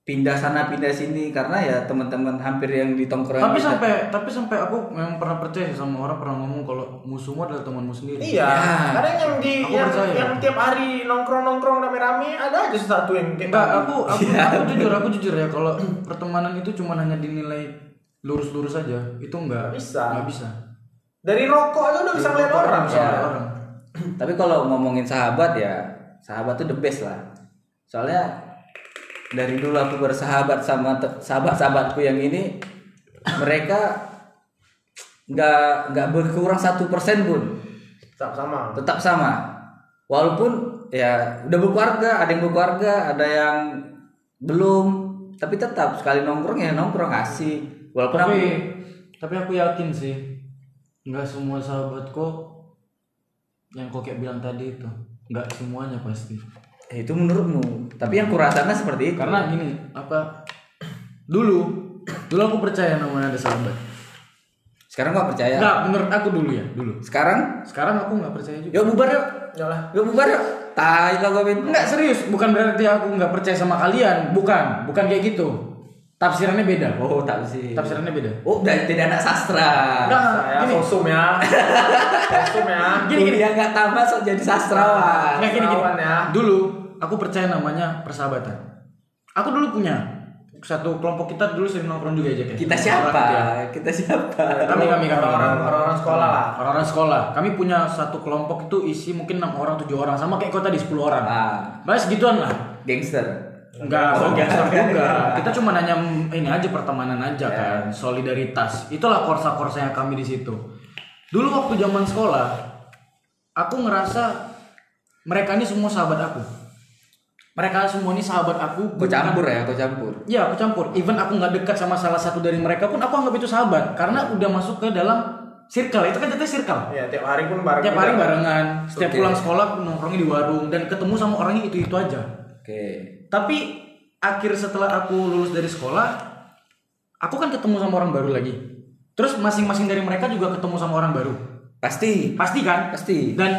Speaker 4: pindah sana pindah sini karena ya teman-teman hampir yang di tongkrongan
Speaker 3: Tapi
Speaker 4: kita.
Speaker 3: sampai tapi sampai aku memang pernah percaya sama orang pernah ngomong kalau musuhmu adalah temanmu sendiri.
Speaker 2: Iya,
Speaker 4: Ya.
Speaker 2: kadang yang di
Speaker 3: Aku
Speaker 2: yang,
Speaker 3: percaya.
Speaker 2: yang tiap hari nongkrong-nongkrong rame-rame ada aja satu yang kayak
Speaker 3: Enggak,
Speaker 2: tadi.
Speaker 3: aku aku, aku jujur, aku jujur ya kalau pertemanan itu cuma hanya dinilai lurus-lurus saja, itu enggak.
Speaker 2: Nggak bisa.
Speaker 3: Nggak bisa.
Speaker 2: dari rokok aja udah bisa ngeliat orang.
Speaker 3: Bisa
Speaker 2: Ya.
Speaker 3: ngeliat orang.
Speaker 4: Iya. [CLEARS THROAT] tapi kalau ngomongin sahabat ya sahabat tuh the best lah soalnya dari dulu aku bersahabat sama te- sahabat-sahabatku yang ini mereka nggak nggak berkurang satu persen pun
Speaker 2: Sama-sama.
Speaker 4: tetap sama walaupun ya udah berkeluarga ada yang berkeluarga ada yang belum tapi tetap sekali nongkrong ya nongkrong asik walaupun
Speaker 3: Tapi
Speaker 4: aku-
Speaker 3: tapi aku yakin sih enggak semua sahabatku yang kau kayak bilang tadi itu enggak semuanya pasti.
Speaker 4: ya itu menurutmu tapi yang kurasakan seperti itu
Speaker 3: Karena gini, apa dulu dulu aku percaya namanya ada sahabat.
Speaker 4: sekarang gak percaya
Speaker 3: Enggak, menurut aku dulu ya, dulu.
Speaker 4: sekarang
Speaker 3: Sekarang aku nggak percaya juga.
Speaker 4: yuk bubar yuk
Speaker 2: Yalah.
Speaker 4: Gak bubar yuk. Tai lah gue Bin.
Speaker 3: Enggak serius, bukan berarti aku nggak percaya sama kalian, bukan, bukan kayak gitu. Tafsirannya beda.
Speaker 4: Oh, tak sih.
Speaker 3: Tafsirannya beda.
Speaker 4: Oh, udah tidak anak sastra.
Speaker 3: Enggak,
Speaker 2: Saya
Speaker 3: gini.
Speaker 2: sosum
Speaker 3: [LAUGHS]
Speaker 2: ya. sosum ya.
Speaker 4: Gini gini ya enggak tambah sok jadi sastrawan.
Speaker 3: Enggak gini gini.
Speaker 2: Sastrawan ya.
Speaker 3: Dulu aku percaya namanya persahabatan. Aku dulu punya satu kelompok kita dulu sering nongkrong juga aja kayak.
Speaker 4: Kita
Speaker 3: Orang gitu ya.
Speaker 4: siapa? Kita siapa?
Speaker 3: Kami kami kami
Speaker 2: Orang-orang orang-orang sekolah lah.
Speaker 3: Orang-orang sekolah. Kami punya satu kelompok itu isi mungkin enam orang, tujuh orang sama kayak kau tadi 10 orang.
Speaker 4: Ah,
Speaker 3: Bahas gituan lah.
Speaker 4: gangster.
Speaker 3: Enggak, Oh, enggak juga. Kita cuma nanya mm, ini aja pertemanan aja kan, solidaritas. Itulah korsa-korsanya kami di situ. Dulu waktu zaman sekolah, aku ngerasa mereka ini semua sahabat aku. Mereka semua ini sahabat aku.
Speaker 4: Kau
Speaker 3: bukan-
Speaker 4: campur ya, kau campur.
Speaker 3: Ya, aku campur. Even aku nggak dekat sama salah satu dari mereka pun aku anggap itu sahabat karena udah masuk ke dalam circle. Itu kan jatuhnya circle.
Speaker 2: Ya tiap hari pun bareng.
Speaker 3: Tiap hari barengan, setiap
Speaker 4: Oke.
Speaker 3: pulang sekolah aku nongkrongnya di warung dan ketemu sama orangnya itu-itu aja.
Speaker 4: Oke.
Speaker 3: Tapi akhir setelah aku lulus dari sekolah, aku kan ketemu sama orang baru lagi. Terus masing-masing dari mereka juga ketemu sama orang baru.
Speaker 4: Pasti.
Speaker 3: Pasti kan?
Speaker 4: Pasti.
Speaker 3: Dan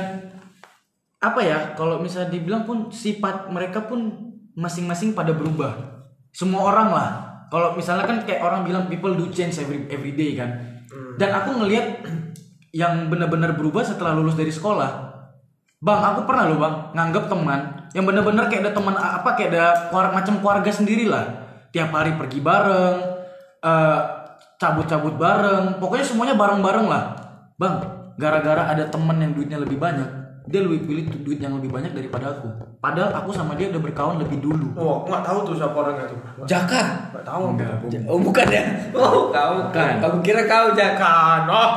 Speaker 3: apa ya? Kalau misalnya dibilang pun sifat mereka pun masing-masing pada berubah. Semua orang lah. Kalau misalnya kan kayak orang bilang people do change every every day kan. Dan aku ngelihat [CLEARS THROAT] yang benar-benar berubah setelah lulus dari sekolah. Bang, aku pernah loh bang nganggap teman yang benar-benar kayak ada teman apa kayak ada keluar- macam keluarga sendiri lah. Tiap hari pergi bareng, eh, cabut-cabut bareng, pokoknya semuanya bareng-bareng lah. Bang, gara-gara ada teman yang duitnya lebih banyak, dia lebih pilih tu- duit yang lebih banyak daripada aku. Padahal aku sama dia udah berkawan lebih dulu.
Speaker 2: Wah, Oh, aku nggak tahu tuh siapa orangnya tuh.
Speaker 4: Jaka.
Speaker 2: Nggak tahu.
Speaker 4: J- Oh, bukan ya. Oh, kau
Speaker 3: Bukan.
Speaker 4: Aku kira kau Jaka.
Speaker 2: Kan,
Speaker 3: [LAUGHS]
Speaker 2: oh,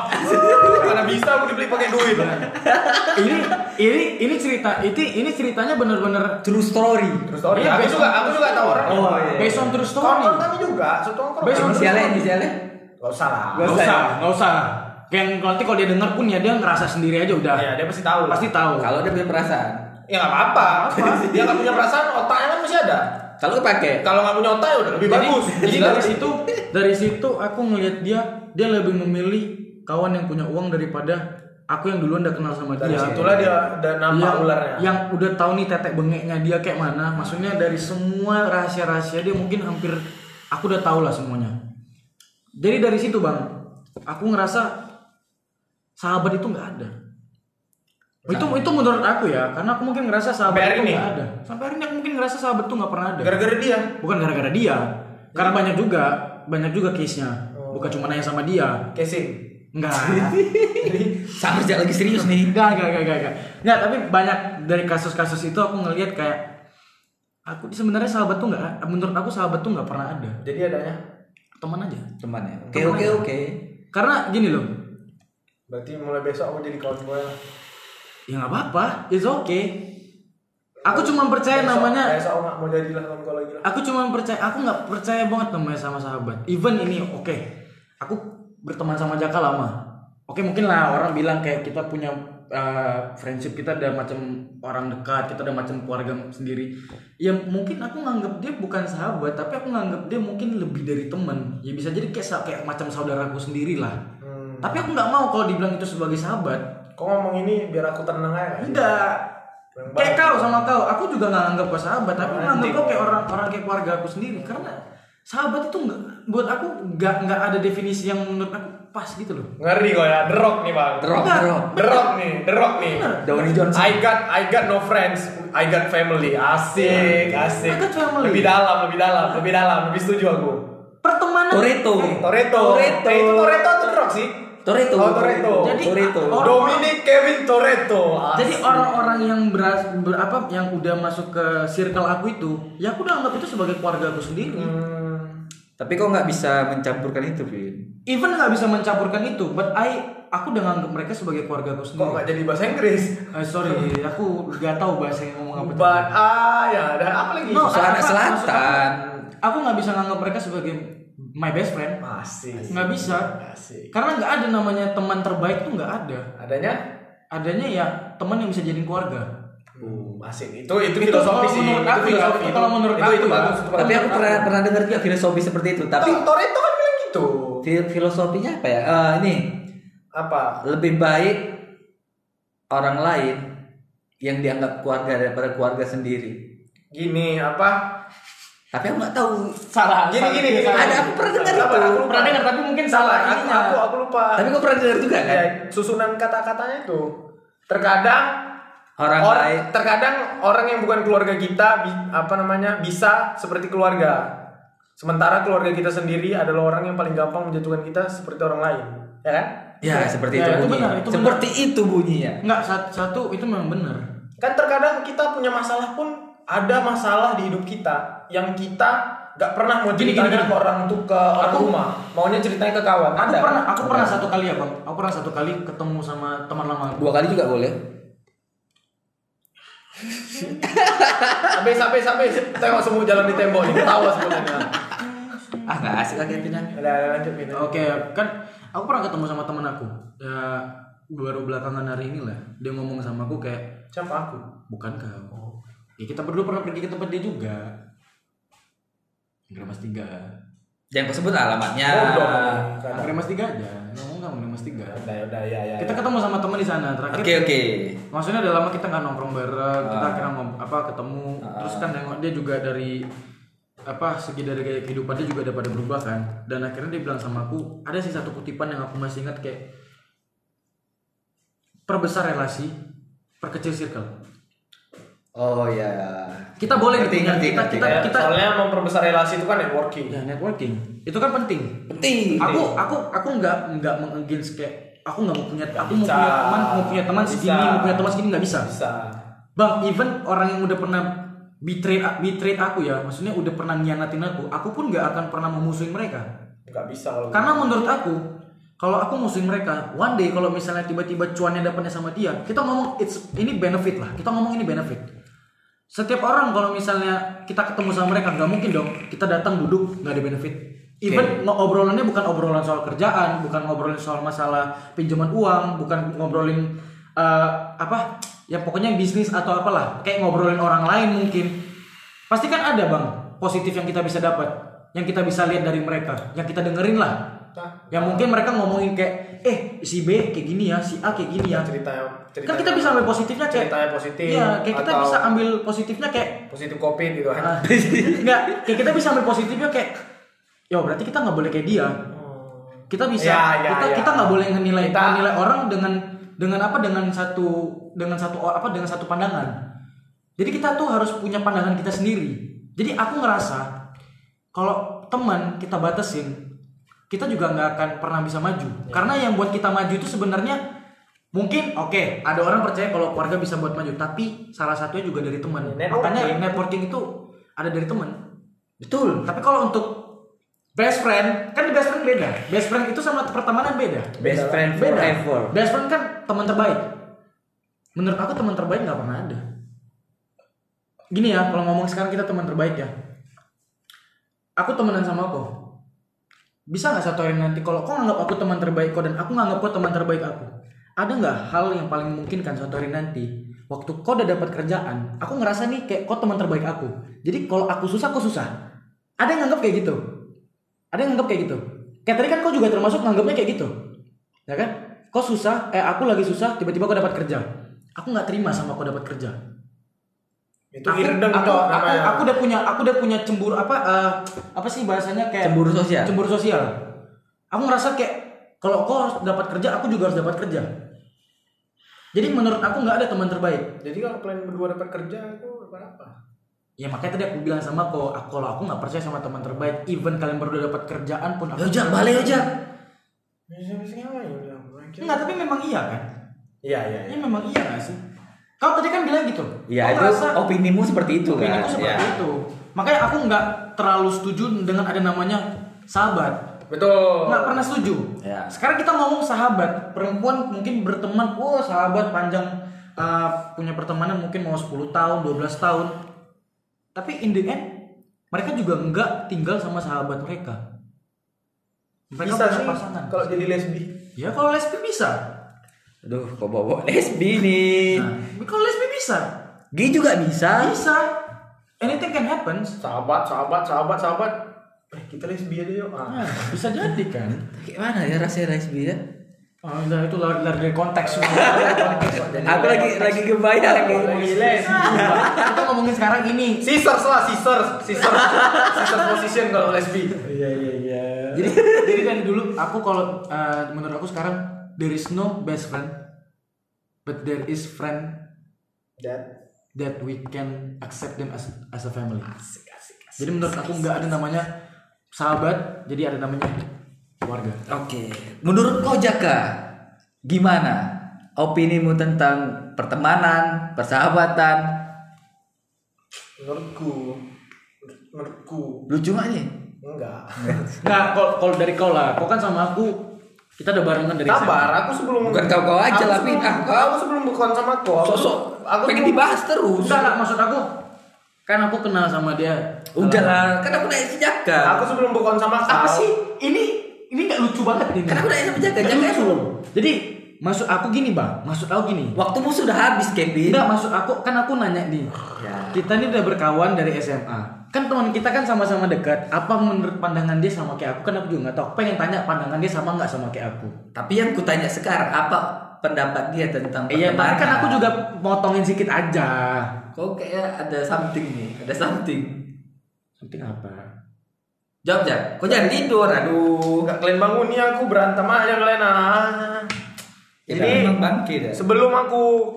Speaker 2: mana bisa aku dibeli pakai duit?
Speaker 3: Iya. ini ini ini cerita ini ini ceritanya bener-bener
Speaker 4: True story.
Speaker 2: Terus story.
Speaker 3: Iya,
Speaker 2: aku
Speaker 3: based
Speaker 2: juga,
Speaker 3: on-
Speaker 2: aku juga tahu orang. kan
Speaker 4: Oh, iya.
Speaker 3: based on true story.
Speaker 2: Kawan-kawan kami juga, satu nongkrong.
Speaker 3: Based on true
Speaker 4: Inisialnya,
Speaker 3: story.
Speaker 4: inisialnya.
Speaker 2: Gak usah lah.
Speaker 4: Nggak
Speaker 3: Gak
Speaker 4: usah
Speaker 3: usah, gak usah. Kayak nanti kalau dia denger pun ya dia ngerasa sendiri aja udah.
Speaker 2: Ya, dia pasti tahu. lah.
Speaker 3: Pasti tahu.
Speaker 4: Kalau dia punya perasaan.
Speaker 2: Ya
Speaker 3: [LAUGHS]
Speaker 2: nggak apa-apa. apa. Dia nggak punya perasaan, otaknya kan masih ada.
Speaker 4: Kalau kau pakai.
Speaker 2: Kalau nggak punya otak ya udah lebih
Speaker 3: Jadi-
Speaker 2: bagus.
Speaker 3: Jadi dari situ dari situ aku ngelihat dia dia lebih memilih kawan yang punya uang daripada aku yang duluan udah kenal sama
Speaker 2: Dari
Speaker 3: dia.
Speaker 2: situlah Ya, dia dan nampak
Speaker 3: yang,
Speaker 2: ularnya.
Speaker 3: yang udah tahu nih tetek bengeknya dia kayak mana. Maksudnya dari semua rahasia-rahasia dia mungkin hampir aku udah tahu lah semuanya. Jadi dari situ bang, aku ngerasa sahabat itu nggak ada. Itu itu menurut aku ya, karena aku mungkin ngerasa sahabat
Speaker 2: Sampai hari
Speaker 3: itu
Speaker 2: ini?
Speaker 3: nggak ada. Sampai hari ini aku mungkin ngerasa sahabat tuh nggak pernah ada
Speaker 2: Gara-gara Iya. dia.
Speaker 3: bukan gara-gara dia karena banyak juga banyak juga case nya bukan cuma nanya sama dia
Speaker 2: Casing.
Speaker 3: enggak
Speaker 2: [LAUGHS]
Speaker 4: Sama sejak lagi serius nih.
Speaker 3: enggak enggak enggak enggak enggak. Enggak, tapi banyak dari kasus-kasus itu aku ngelihat kayak aku sebenarnya sahabat tuh enggak menurut aku sahabat tuh enggak pernah ada
Speaker 2: Jadi adanya
Speaker 3: teman aja
Speaker 4: Teman ya. Oke oke oke.
Speaker 3: karena gini loh
Speaker 2: berarti mulai besok aku jadi kawan gue
Speaker 3: Eh,
Speaker 2: lah.
Speaker 3: ya nggak apa-apa it's okay aku cuma percaya
Speaker 2: Besok-
Speaker 3: namanya
Speaker 2: besok aku nggak mau jadilah kawan gue lagi lah.
Speaker 3: aku cuma percaya aku nggak percaya banget namanya sama sahabat even ini oke aku berteman sama Jaka lama oke mungkin lah orang bilang kayak kita punya uh, friendship kita ada macam orang dekat kita ada macam keluarga sendiri ya mungkin aku nganggap dia bukan sahabat tapi aku nganggap dia mungkin lebih dari teman ya bisa jadi kayak sa- kayak macam saudaraku sendiri lah
Speaker 2: Hmm.
Speaker 3: tapi aku nggak mau kalau dibilang itu sebagai sahabat
Speaker 2: Kok ngomong ini biar aku tenang aja.
Speaker 3: tidak
Speaker 2: Yang
Speaker 3: kayak
Speaker 2: banget.
Speaker 3: kau sama kau aku juga nggak anggap kau sahabat tapi aku
Speaker 2: Anjing.
Speaker 3: nganggap kau kayak orang orang kayak keluarga aku sendiri karena sahabat itu nggak buat aku nggak nggak ada definisi yang menurut aku pas gitu loh
Speaker 2: Ngeri kok ya, The Rock nih bang.
Speaker 4: Drop
Speaker 3: Enggak.
Speaker 4: drop.
Speaker 2: The Rock nih, The Rock nih.
Speaker 4: Dawani Johnson.
Speaker 2: I got, I got no friends, I got family. Asik, asik.
Speaker 3: Iya. I got family.
Speaker 2: Lebih dalam, lebih dalam, lebih dalam, lebih setuju aku.
Speaker 3: pertemanan
Speaker 4: Toretto.
Speaker 2: Toretto.
Speaker 4: Toretto.
Speaker 2: Eh, itu Toretto atau The Rock sih?
Speaker 4: Toretto.
Speaker 2: Oh, Toretto.
Speaker 3: Jadi-
Speaker 4: Toretto.
Speaker 2: Oh.
Speaker 3: Orang-
Speaker 2: Dominic Kevin Toretto. Asik.
Speaker 3: jadi orang-orang yang beras ber- apa yang udah masuk ke circle aku itu ya aku udah anggap itu sebagai keluarga aku sendiri
Speaker 2: Hmm,
Speaker 4: Tapi kok nggak bisa mencampurkan itu, Vin?
Speaker 3: even nggak bisa mencampurkan itu but I aku udah nganggap mereka sebagai keluarga aku
Speaker 2: kok
Speaker 3: sendiri
Speaker 2: nggak jadi bahasa Inggris?
Speaker 3: Eh, sorry aku nggak tahu bahasa yang ngomong apa tadi.
Speaker 2: But ah ya, dan apa lagi?
Speaker 3: No,
Speaker 4: Susah anak
Speaker 3: apa-
Speaker 4: selatan.
Speaker 3: maksud aku- Aku nggak bisa nganggap mereka sebagai my best friend.
Speaker 2: Masih.
Speaker 3: Nggak bisa.
Speaker 2: Asik.
Speaker 3: Karena nggak ada namanya teman terbaik tuh nggak ada.
Speaker 2: Adanya?
Speaker 3: Adanya ya teman yang bisa jadiin keluarga.
Speaker 2: Hmm, asik. Itu itu
Speaker 3: Itu
Speaker 2: filosofi
Speaker 3: kalau
Speaker 2: sih.
Speaker 3: menurut aku ya, itu kalau menurut
Speaker 2: itu,
Speaker 3: aku
Speaker 2: itu
Speaker 3: ya.
Speaker 2: bagus. itu
Speaker 4: Tapi
Speaker 2: bagus.
Speaker 4: aku pernah pernah dengar juga filosofi seperti itu. Tapi
Speaker 2: Tor- Toretto kan bilang gitu.
Speaker 4: fi- filosofinya apa ya? Eh, ini
Speaker 2: Apa?
Speaker 4: lebih baik orang lain yang dianggap keluarga daripada keluarga sendiri.
Speaker 2: Gini apa?
Speaker 4: Tapi aku nggak tahu.
Speaker 3: Salah.
Speaker 2: Gini gini gini.
Speaker 4: Ada, aku pernah dengar
Speaker 2: Sabar,
Speaker 4: itu.
Speaker 2: aku lupa.
Speaker 3: Pernah dengar, tapi mungkin
Speaker 2: salah.
Speaker 3: salah
Speaker 2: Aku
Speaker 3: ininya.
Speaker 2: aku aku lupa.
Speaker 4: Tapi kau pernah dengar juga kan?
Speaker 2: Ya, susunan kata-katanya itu terkadang
Speaker 4: Orang
Speaker 2: or-
Speaker 4: lain.
Speaker 2: terkadang orang yang bukan keluarga kita bi- apa namanya bisa seperti keluarga sementara keluarga kita sendiri adalah orang yang paling gampang menjatuhkan kita seperti orang lain ya kan
Speaker 4: Ya, seperti
Speaker 3: Ya,
Speaker 4: itu
Speaker 3: itu
Speaker 4: bunyinya.
Speaker 3: benar, itu benar.
Speaker 4: seperti itu bunyinya.
Speaker 3: Nggak satu, satu itu memang benar.
Speaker 2: kan terkadang kita punya masalah pun ada masalah di hidup kita yang kita gak pernah mau
Speaker 3: Gini,
Speaker 2: ceritanya
Speaker 3: gini, gini.
Speaker 2: ke orang tuh ke orang
Speaker 3: Aku-
Speaker 2: rumah maunya ceritanya ke kawan
Speaker 3: Aku
Speaker 2: ada
Speaker 3: pernah, aku pernah satu kali ya bang. Aku pernah satu kali ketemu sama teman lama aku.
Speaker 4: Dua kali juga boleh.
Speaker 2: sampai sampai sampai tengok semua jalan di tembok ini tawa sebenarnya
Speaker 4: Ah, nggak asik lagi itu Nan.
Speaker 2: ada lanjut Vin.
Speaker 3: Oke, kan aku pernah ketemu sama teman aku. Ya baru belakangan hari ini lah. Dia ngomong sama aku kayak
Speaker 2: siapa aku
Speaker 3: Bukan kau. Ya kita berdua pernah pergi ke tempat dia juga. Anggrek Mas Tiga.
Speaker 4: Jangan kau sebut alamatnya.
Speaker 3: Ya.
Speaker 2: Bodoh.
Speaker 3: Anggrek Mas Tiga aja. Ngomong nggak Anggrek Mas Tiga.
Speaker 2: udah udah ya ya
Speaker 3: Kita ketemu sama teman di sana
Speaker 4: Oke,
Speaker 3: terakhir.
Speaker 4: Iya, oke. Ah.
Speaker 3: Maksudnya udah lama kita nggak nongkrong bareng. Kita akhirnya ngom apa ketemu. Terus kan nengok dia juga dari apa segi dari gaya kehidupan dia juga udah pada berubah kan. Dan akhirnya dia bilang sama aku ada sih satu kutipan yang aku masih ingat kayak perbesar relasi, perkecil circle.
Speaker 4: Oh
Speaker 3: iya.
Speaker 4: ya.
Speaker 3: Kita boleh
Speaker 4: Ngerti,
Speaker 3: nih,
Speaker 4: ngerti,
Speaker 3: kita-
Speaker 4: ngerti.
Speaker 3: kita-
Speaker 2: Ya,
Speaker 3: kita-
Speaker 2: soalnya memperbesar relasi itu kan networking
Speaker 3: Ya networking itu kan penting.
Speaker 4: penting.
Speaker 3: aku aku aku nggak nggak mengagins kayak aku nggak mau punya aku mau
Speaker 2: bisa.
Speaker 3: punya teman mau punya teman
Speaker 2: Nggak
Speaker 3: segini
Speaker 2: bisa.
Speaker 3: mau punya teman segini nggak bisa
Speaker 2: bisa
Speaker 3: bang even orang yang udah pernah betray betray aku ya maksudnya udah pernah nyianatin aku aku pun nggak akan pernah memusuhi mereka
Speaker 2: nggak bisa kalau
Speaker 3: karena menurut aku kalau aku musuhin mereka one day kalau misalnya tiba-tiba cuannya dapatnya sama dia kita ngomong it's ini benefit lah kita ngomong ini benefit setiap orang kalau misalnya kita ketemu sama mereka nggak mungkin dong kita datang duduk nggak ada benefit even no- obrolannya bukan obrolan soal kerjaan bukan ngobrolin soal masalah pinjaman uang bukan ngobrolin eh, apa ya pokoknya bisnis atau apalah kayak ngobrolin orang lain mungkin pasti kan ada bang positif yang kita bisa dapat yang kita bisa lihat dari mereka, yang kita dengerin lah. Yang mungkin mereka ngomongin kayak, eh si B kayak gini ya, si A kayak gini ya.
Speaker 2: cerita cerita
Speaker 3: Kan kita bisa ambil positifnya kayak.
Speaker 2: ceritanya positif
Speaker 3: Iya, kayak kita
Speaker 2: atau
Speaker 3: bisa ambil positifnya kayak.
Speaker 2: positif covid gitu kan
Speaker 3: ah, [LAUGHS] Enggak, kayak kita bisa ambil positifnya kayak. Ya berarti kita nggak boleh kayak dia. Kita bisa,
Speaker 2: Ya, ya,
Speaker 3: kita
Speaker 2: ya.
Speaker 3: kita nggak boleh nilai
Speaker 2: Kita-
Speaker 3: nilai orang dengan dengan apa dengan satu dengan satu or- apa dengan satu pandangan. Jadi kita tuh harus punya pandangan kita sendiri. Jadi aku ngerasa kalau teman kita batasin, kita juga nggak akan pernah bisa maju.
Speaker 2: Ya.
Speaker 3: Karena yang buat kita maju itu sebenarnya mungkin oke ada orang percaya kalau keluarga bisa buat maju, tapi salah satunya juga dari teman.
Speaker 2: Networking.
Speaker 3: Makanya networking itu ada dari teman. Betul. Tapi kalau untuk best friend kan best friend beda. Best friend itu sama pertemanan beda.
Speaker 5: Best friend
Speaker 3: Beda.
Speaker 5: forever.
Speaker 3: Best friend kan teman terbaik. Menurut aku teman terbaik nggak pernah ada. Gini ya, kalau ngomong sekarang kita teman terbaik ya. Aku temenan sama kau. Bisa nggak satu hari nanti kalau kau nganggap aku teman terbaik kau dan aku nganggap kau teman terbaik aku. Ada nggak hal yang paling memungkinkan suatu hari nanti? Waktu kau udah dapat kerjaan, aku ngerasa nih kayak kau teman terbaik aku. Jadi kalau aku susah, kau susah. Ada yang nganggap kayak gitu. Ada yang nganggap kayak gitu. Kayak tadi kan kau juga termasuk nganggapnya kayak gitu ya kan kau susah eh aku lagi susah tiba-tiba kau dapat kerja aku nggak terima sama kau dapat kerja
Speaker 2: itu
Speaker 3: aku,
Speaker 2: irdeng
Speaker 3: aku,
Speaker 2: tuh
Speaker 3: aku,
Speaker 2: namanya
Speaker 3: aku udah punya aku udah punya cemburu apa eh, apa sih bahasanya kayak
Speaker 4: Cemburu sosial.
Speaker 3: cemburu sosial aku ngerasa kayak kalau kau harus dapat kerja aku juga harus dapat kerja jadi menurut aku nggak ada teman terbaik
Speaker 2: jadi kalau kalian berdua dapat kerja itu berapa
Speaker 3: ya makanya tadi aku bilang sama kau aku- kalau aku nggak percaya sama teman terbaik even kalian berdua dapat kerjaan pun aku
Speaker 4: Yojak, Ya balik Yojak.
Speaker 2: bisa bisa ngapain ya anjing.
Speaker 3: nggak tapi memang iya kan
Speaker 2: iya iya
Speaker 3: ini memang iya nggak sih kau tadi kan bilang gitu
Speaker 4: Ya
Speaker 3: Kau
Speaker 4: itu
Speaker 3: ngerasa-
Speaker 4: opinimu seperti itu
Speaker 3: Opini
Speaker 4: kan.
Speaker 3: aku seperti
Speaker 4: Ya.
Speaker 3: itu. Makanya aku nggak terlalu setuju dengan ada namanya sahabat.
Speaker 2: betul
Speaker 3: Nggak pernah setuju.
Speaker 4: Ya.
Speaker 3: Sekarang kita ngomong sahabat, perempuan mungkin berteman, oh sahabat panjang eh, punya pertemanan mungkin mau 10 tahun, 12 tahun. Tapi in the end mereka juga nggak tinggal sama sahabat mereka. Mereka
Speaker 2: bisa
Speaker 3: punya
Speaker 2: sih
Speaker 3: pasangan.
Speaker 2: kalau jadi lesbi
Speaker 3: Ya kalau lesbi bisa.
Speaker 4: Aduh, kok bawa lesbi nih.
Speaker 3: Nah, kalau lesbi bisa.
Speaker 4: Gay juga bisa.
Speaker 3: Bisa. Anything can happen.
Speaker 2: sahabat sahabat sahabat sahabat eh kita lesbi aja yuk ah.
Speaker 3: Nah, bisa jadi kan.
Speaker 4: Gimana ya rasanya lesbi ya?
Speaker 3: [LAUGHS] Oh, udah, itu lari lari dari konteks semua.
Speaker 2: [LAUGHS]
Speaker 3: Lari dari konteks.
Speaker 4: Aku lagi lagi kebayang nih.
Speaker 2: Lagi lesbi
Speaker 3: Kita ngomongin sekarang ini.
Speaker 2: scissors lah scissors scissors scissors position kalau lesbi iya iya iya
Speaker 3: Jadi jadi dari dulu aku kalau eh, menurut aku sekarang there is no best friend but there is friend
Speaker 2: dan
Speaker 3: that we can accept them as as a family. Jadi menurut aku nggak ada namanya sahabat, jadi ada namanya keluarga.
Speaker 4: Oke. Menurut kau Jaka, gimana opinimu tentang pertemanan, persahabatan?
Speaker 2: menurutku menurutku
Speaker 4: Lucu gak nih?
Speaker 2: enggak
Speaker 3: Nah, kalau kalau dari kau lah, kau kan sama aku kita udah barengan dari
Speaker 2: Sabar, aku sebelum
Speaker 4: Bukan kau-kau aja,
Speaker 2: Aku
Speaker 4: Lapin.
Speaker 2: sebelum-
Speaker 4: Ah, kau.
Speaker 2: Aku sebelum bukan sama kau. aku-
Speaker 4: Sosok
Speaker 2: aku
Speaker 4: pengen
Speaker 2: sebelum-
Speaker 4: dibahas terus.
Speaker 3: Enggak, enggak maksud aku kan aku kenal sama dia.
Speaker 4: Udah lah, kan aku nanya si Jaka.
Speaker 2: Aku sebelum bukan sama kau.
Speaker 3: apa sih ini ini nggak lucu banget ini
Speaker 4: Kan aku nanya sama Jaka,
Speaker 3: Nggak
Speaker 4: Jaka
Speaker 3: lucu. jadi maksud aku gini bang maksud aku gini
Speaker 4: Waktumu sudah habis, Kevin.
Speaker 3: tidak maksud aku kan aku nanya nih
Speaker 4: Ya.
Speaker 3: kita nih udah berkawan dari SMA kan teman kita kan sama-sama dekat apa menurut pandangan dia sama kayak aku kan aku juga nggak tahu Aku pengen tanya pandangan dia sama nggak sama kayak aku
Speaker 4: Tapi yang kutanya sekarang apa pendapat dia tentang
Speaker 3: Eh, iya tapi
Speaker 4: pertemanan?
Speaker 3: kan aku juga motongin sedikit aja
Speaker 4: Kok kayak ada something nih, ada something.
Speaker 3: penting apa
Speaker 4: Jawab Jak, kok jangan tidur, aduh.
Speaker 2: Enggak kalian bangun nih aku berantem aja kalian ah.
Speaker 4: Ya,
Speaker 2: Jadi
Speaker 4: memang bangkit ya.
Speaker 2: sebelum aku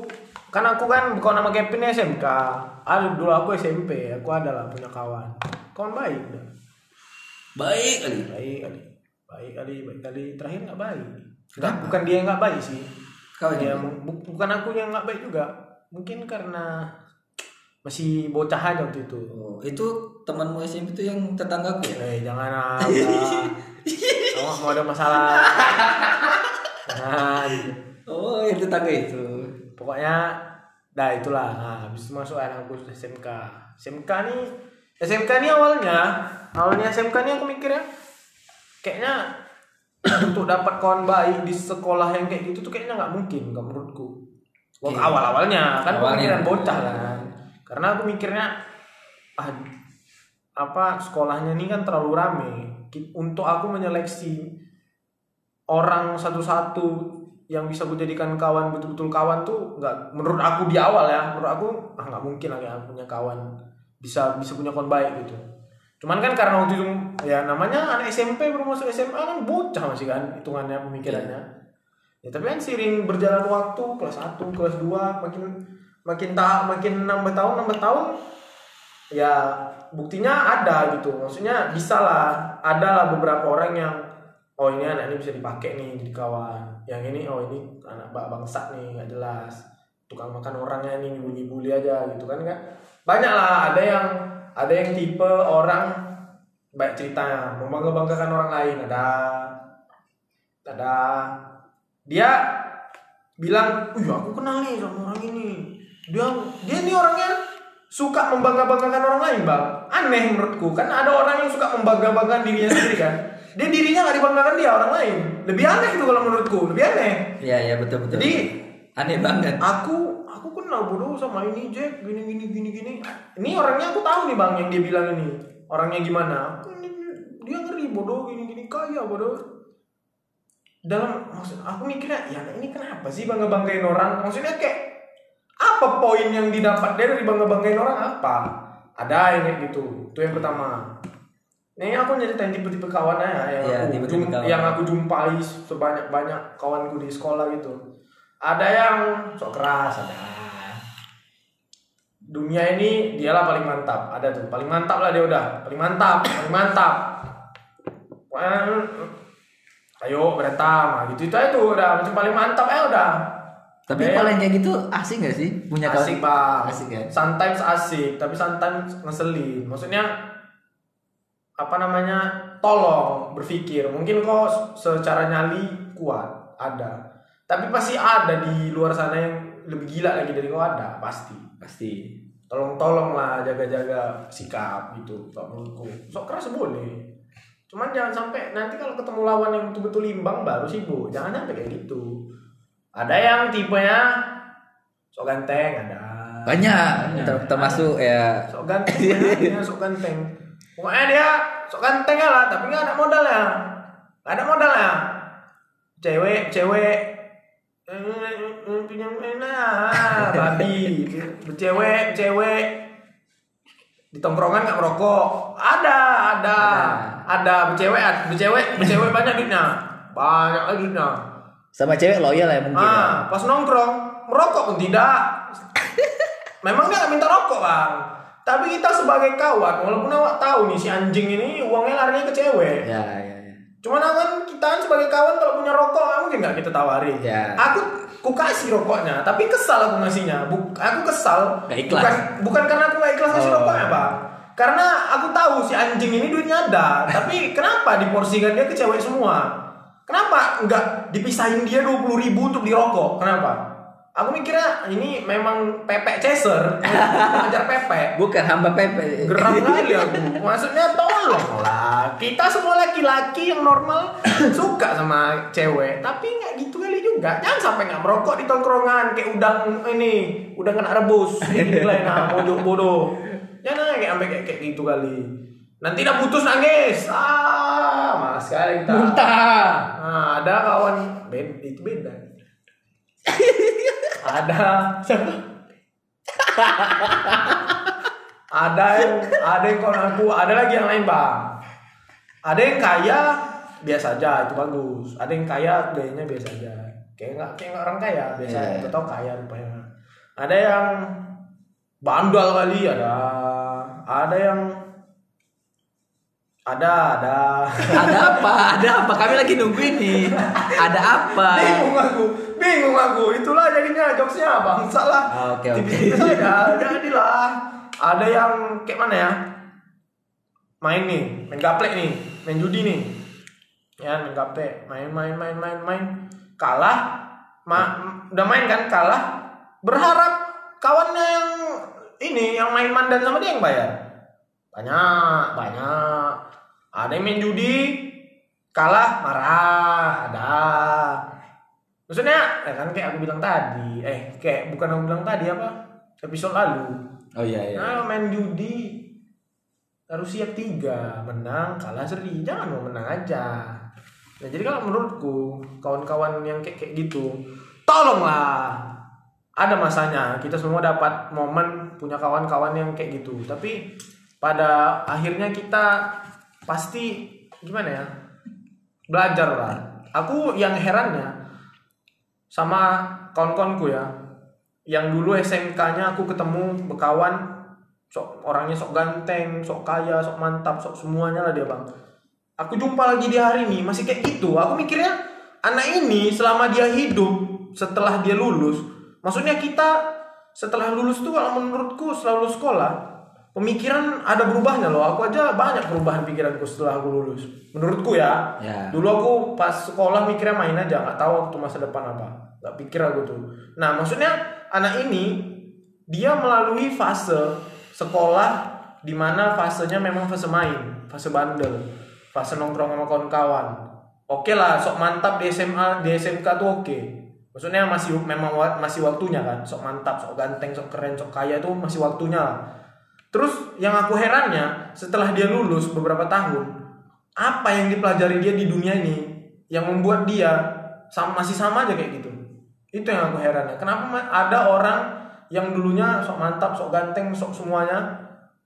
Speaker 2: kan aku kan bukan nama Kevin SMK. Aduh dulu aku SMP, aku adalah punya kawan. Kawan baik, udah.
Speaker 4: Baik kali.
Speaker 2: baik kali, baik kali, baik kali. Terakhir nggak baik. Kenapa? Bukan dia yang nggak baik sih.
Speaker 3: Oh,
Speaker 2: Ya,
Speaker 4: Kau
Speaker 3: iya.
Speaker 4: yang
Speaker 2: bu- bukan aku yang nggak baik juga. Mungkin karena masih bocah aja waktu itu.
Speaker 4: Oh, itu temanmu SMP itu yang tetanggaku ya?
Speaker 2: Eh jangan apa. Kamu mau ada masalah. Jangan.
Speaker 4: Oh, yang tetangga itu.
Speaker 2: Pokoknya dah itulah. Nah, habis itu masuk anak aku sudah SMK. SMK nih SMK nih awalnya, awalnya SMK nih aku mikirnya kayaknya [CLEARS THROAT] untuk dapat kawan baik di sekolah yang kayak gitu tuh kayaknya nggak mungkin kalau menurutku. Waktu
Speaker 4: Oke.
Speaker 2: awal-awalnya kan
Speaker 4: Awalnya.
Speaker 2: pemikiran bocah kan. Karena aku mikirnya ah, apa sekolahnya ini kan terlalu rame Ki- untuk aku menyeleksi orang satu-satu yang bisa gue jadikan kawan betul-betul kawan tuh nggak menurut aku di awal ya menurut aku ah nggak mungkin lah ya punya kawan bisa bisa punya kawan baik gitu cuman kan karena waktu itu ya namanya anak SMP baru masuk SMA kan bocah masih kan hitungannya pemikirannya ya tapi kan sering berjalan waktu kelas 1 kelas 2 makin makin tak makin nambah tahun nambah tahun ya buktinya ada gitu maksudnya bisa lah ada lah beberapa orang yang oh ini anak ini bisa dipakai nih jadi kawan yang ini oh ini anak bak bangsat nih nggak jelas tukang makan orangnya nih bully-bully aja gitu kan kan banyak lah ada yang ada yang tipe orang baik ceritanya membangga banggakan orang lain ada ada dia bilang, "Wih, aku kenal nih sama orang ini." Dia dia nih orangnya suka membangga-banggakan orang lain, Bang. Aneh menurutku, kan ada orang yang suka membangga-banggakan dirinya sendiri kan. Dia dirinya nggak dibanggakan dia orang lain. Lebih aneh itu kalau menurutku, lebih aneh.
Speaker 4: Iya iya betul betul.
Speaker 2: Jadi Ah,
Speaker 4: aneh banget.
Speaker 2: aku aku kenal dulu sama ini Jack gini gini gini gini ini orangnya aku tahu nih bang yang dia bilang ini orangnya gimana Aku ini- dia ngeri bodoh gini gini kaya bodoh dalam maksud aku mikirnya ya ini kenapa sih bangga banggain orang maksudnya kayak apa poin yang didapat dia dari bangga banggain orang apa ada yang kayak gitu itu yang pertama ini aku nyeritain tipe-tipe kawan aja yang,
Speaker 4: Iya,
Speaker 2: aku
Speaker 4: tipe-tipe
Speaker 2: jum-
Speaker 4: kawan.
Speaker 2: yang aku jumpai sebanyak-banyak kawanku di sekolah gitu ada yang sok keras ada dunia ini dialah paling mantap ada tuh paling mantap lah dia udah paling mantap paling mantap Wah, ayo berantem Nah, gitu itu aja tuh udah macam paling mantap ya udah
Speaker 4: Tapi
Speaker 2: Ada
Speaker 4: kalau
Speaker 2: yang
Speaker 4: yang kayak gitu asik gak sih punya kawan?
Speaker 2: asik bang
Speaker 4: Iya, Asik ya.
Speaker 2: sometimes asik tapi sometimes ngeselin maksudnya apa namanya tolong berpikir mungkin kok secara nyali kuat ada tapi pasti ada di luar sana yang lebih gila lagi dari kau ada pasti
Speaker 4: Pasti.
Speaker 2: tolong tolong lah jaga-jaga sikap gitu kalau menurutku sok keras boleh cuman jangan sampai nanti kalau ketemu lawan yang betul-betul imbang baru sibuk jangan sampai kayak gitu ada yang tipenya sok ganteng ada
Speaker 4: Banyak. Ter- termasuk ya
Speaker 2: sok ganteng banyak, sok ganteng pokoknya dia sok ganteng lah tapi nggak ada modal ya nggak ada modal ya cewek cewek eh, eh, eh, pinjam enak babi cewek cewek di tongkrongan nggak merokok ada ada ada cewek cewek cewek banyak duitnya banyak lagi duitnya
Speaker 4: sama cewek loyal ya mungkin. ya.
Speaker 2: Ah, pas nongkrong merokok pun tidak. Memang dia nggak minta rokok bang. Tapi kita sebagai kawan, walaupun awak tahu nih si anjing ini uangnya larinya ke cewek.
Speaker 4: Ya ya ya.
Speaker 2: Cuman kan kita kan sebagai kawan kalau punya rokok nggak mungkin nggak kita tawari.
Speaker 4: Ya.
Speaker 2: Aku ku kasih rokoknya, tapi kesal aku ngasihnya. Buk- aku kesal.
Speaker 4: Nggak ikhlas. Oh.
Speaker 2: Bukan, bukan karena aku nggak ikhlas ngasih rokoknya bang. Karena aku tahu si anjing ini duitnya ada,
Speaker 4: [LAUGHS]
Speaker 2: tapi kenapa diporsikan dia ke cewek semua? Kenapa nggak dipisahin dia 20.000 ribu untuk di rokok? Kenapa? Aku mikirnya ini memang pepek
Speaker 4: [LAUGHS]
Speaker 2: chaser, mengajar pepek
Speaker 4: Bukan hamba pepe.
Speaker 2: geram kali aku maksudnya tolong lah kita semua laki-laki yang normal suka sama cewek tapi nggak gitu kali juga jangan sampai nggak merokok di tongkrongan kayak udang ini udang kena rebus ini lah nah bodoh bodoh jangan kayak sampai kayak, kayak gitu kali nanti udah putus nangis ah malas sekali kita
Speaker 3: Muntah.
Speaker 2: Nah, ada kawan beda itu beda. ada siapa? ada yang ada yang kawan aku, ada lagi yang lain bang. Ada yang kaya biasa aja itu bagus. Ada yang kaya gayanya biasa aja. Kayak nggak kayak nggak orang kaya biasa.
Speaker 4: Iya.
Speaker 2: Yeah. Tahu kaya rupanya. Ada yang bandal kali ada. Ada yang ada ada.
Speaker 4: ada apa? Ada apa? Kami lagi nungguin nih. Ada apa?
Speaker 2: bingung aku bingung aku itulah jadinya jokesnya bangsa lah
Speaker 4: Ah, oke, oke.
Speaker 2: Tipis-tipis aja, jadilah ada yang kayak mana ya main nih main gaplek nih main judi nih ya main gaplek main main main main main kalah ma udah main kan kalah berharap kawannya yang ini yang main mandan sama dia yang bayar banyak banyak ada yang main judi kalah marah ada maksudnya ya kan kayak aku bilang tadi eh kayak bukan aku bilang tadi apa episode lalu
Speaker 4: Oh iya iya.
Speaker 2: Nah, main judi harus siap tiga menang kalah seri jangan mau menang aja nah jadi kalau menurutku kawan-kawan yang kayak kayak gitu tolonglah ada masanya kita semua dapat momen punya kawan-kawan yang kayak gitu tapi pada akhirnya kita pasti gimana ya belajar lah aku yang herannya sama kawan-kawanku ya yang dulu SMK-nya aku ketemu bekawan sok orangnya sok ganteng sok kaya sok mantap sok semuanya lah dia bang aku jumpa lagi di hari ini masih kayak gitu aku mikirnya anak ini selama dia hidup setelah dia lulus maksudnya kita setelah lulus tuh kalau menurutku setelah lulus sekolah pemikiran ada berubahnya loh aku aja banyak perubahan pikiranku setelah aku lulus menurutku ya
Speaker 4: Ya.
Speaker 2: dulu aku pas sekolah mikirnya main aja nggak tahu waktu masa depan apa nggak pikir aku tuh nah maksudnya anak ini dia melalui fase sekolah di mana fasenya memang fase main fase bandel fase nongkrong sama kawan-kawan oke lah sok mantap di SMA di SMK tuh oke maksudnya masih memang wa- masih waktunya kan sok mantap sok ganteng sok keren sok kaya itu masih waktunya lah Terus yang aku herannya setelah dia lulus beberapa tahun, apa yang dipelajari dia di dunia ini yang membuat dia sama, masih sama aja kayak gitu. Itu yang aku herannya. Kenapa Ma- ada orang yang dulunya sok mantap, sok ganteng, sok semuanya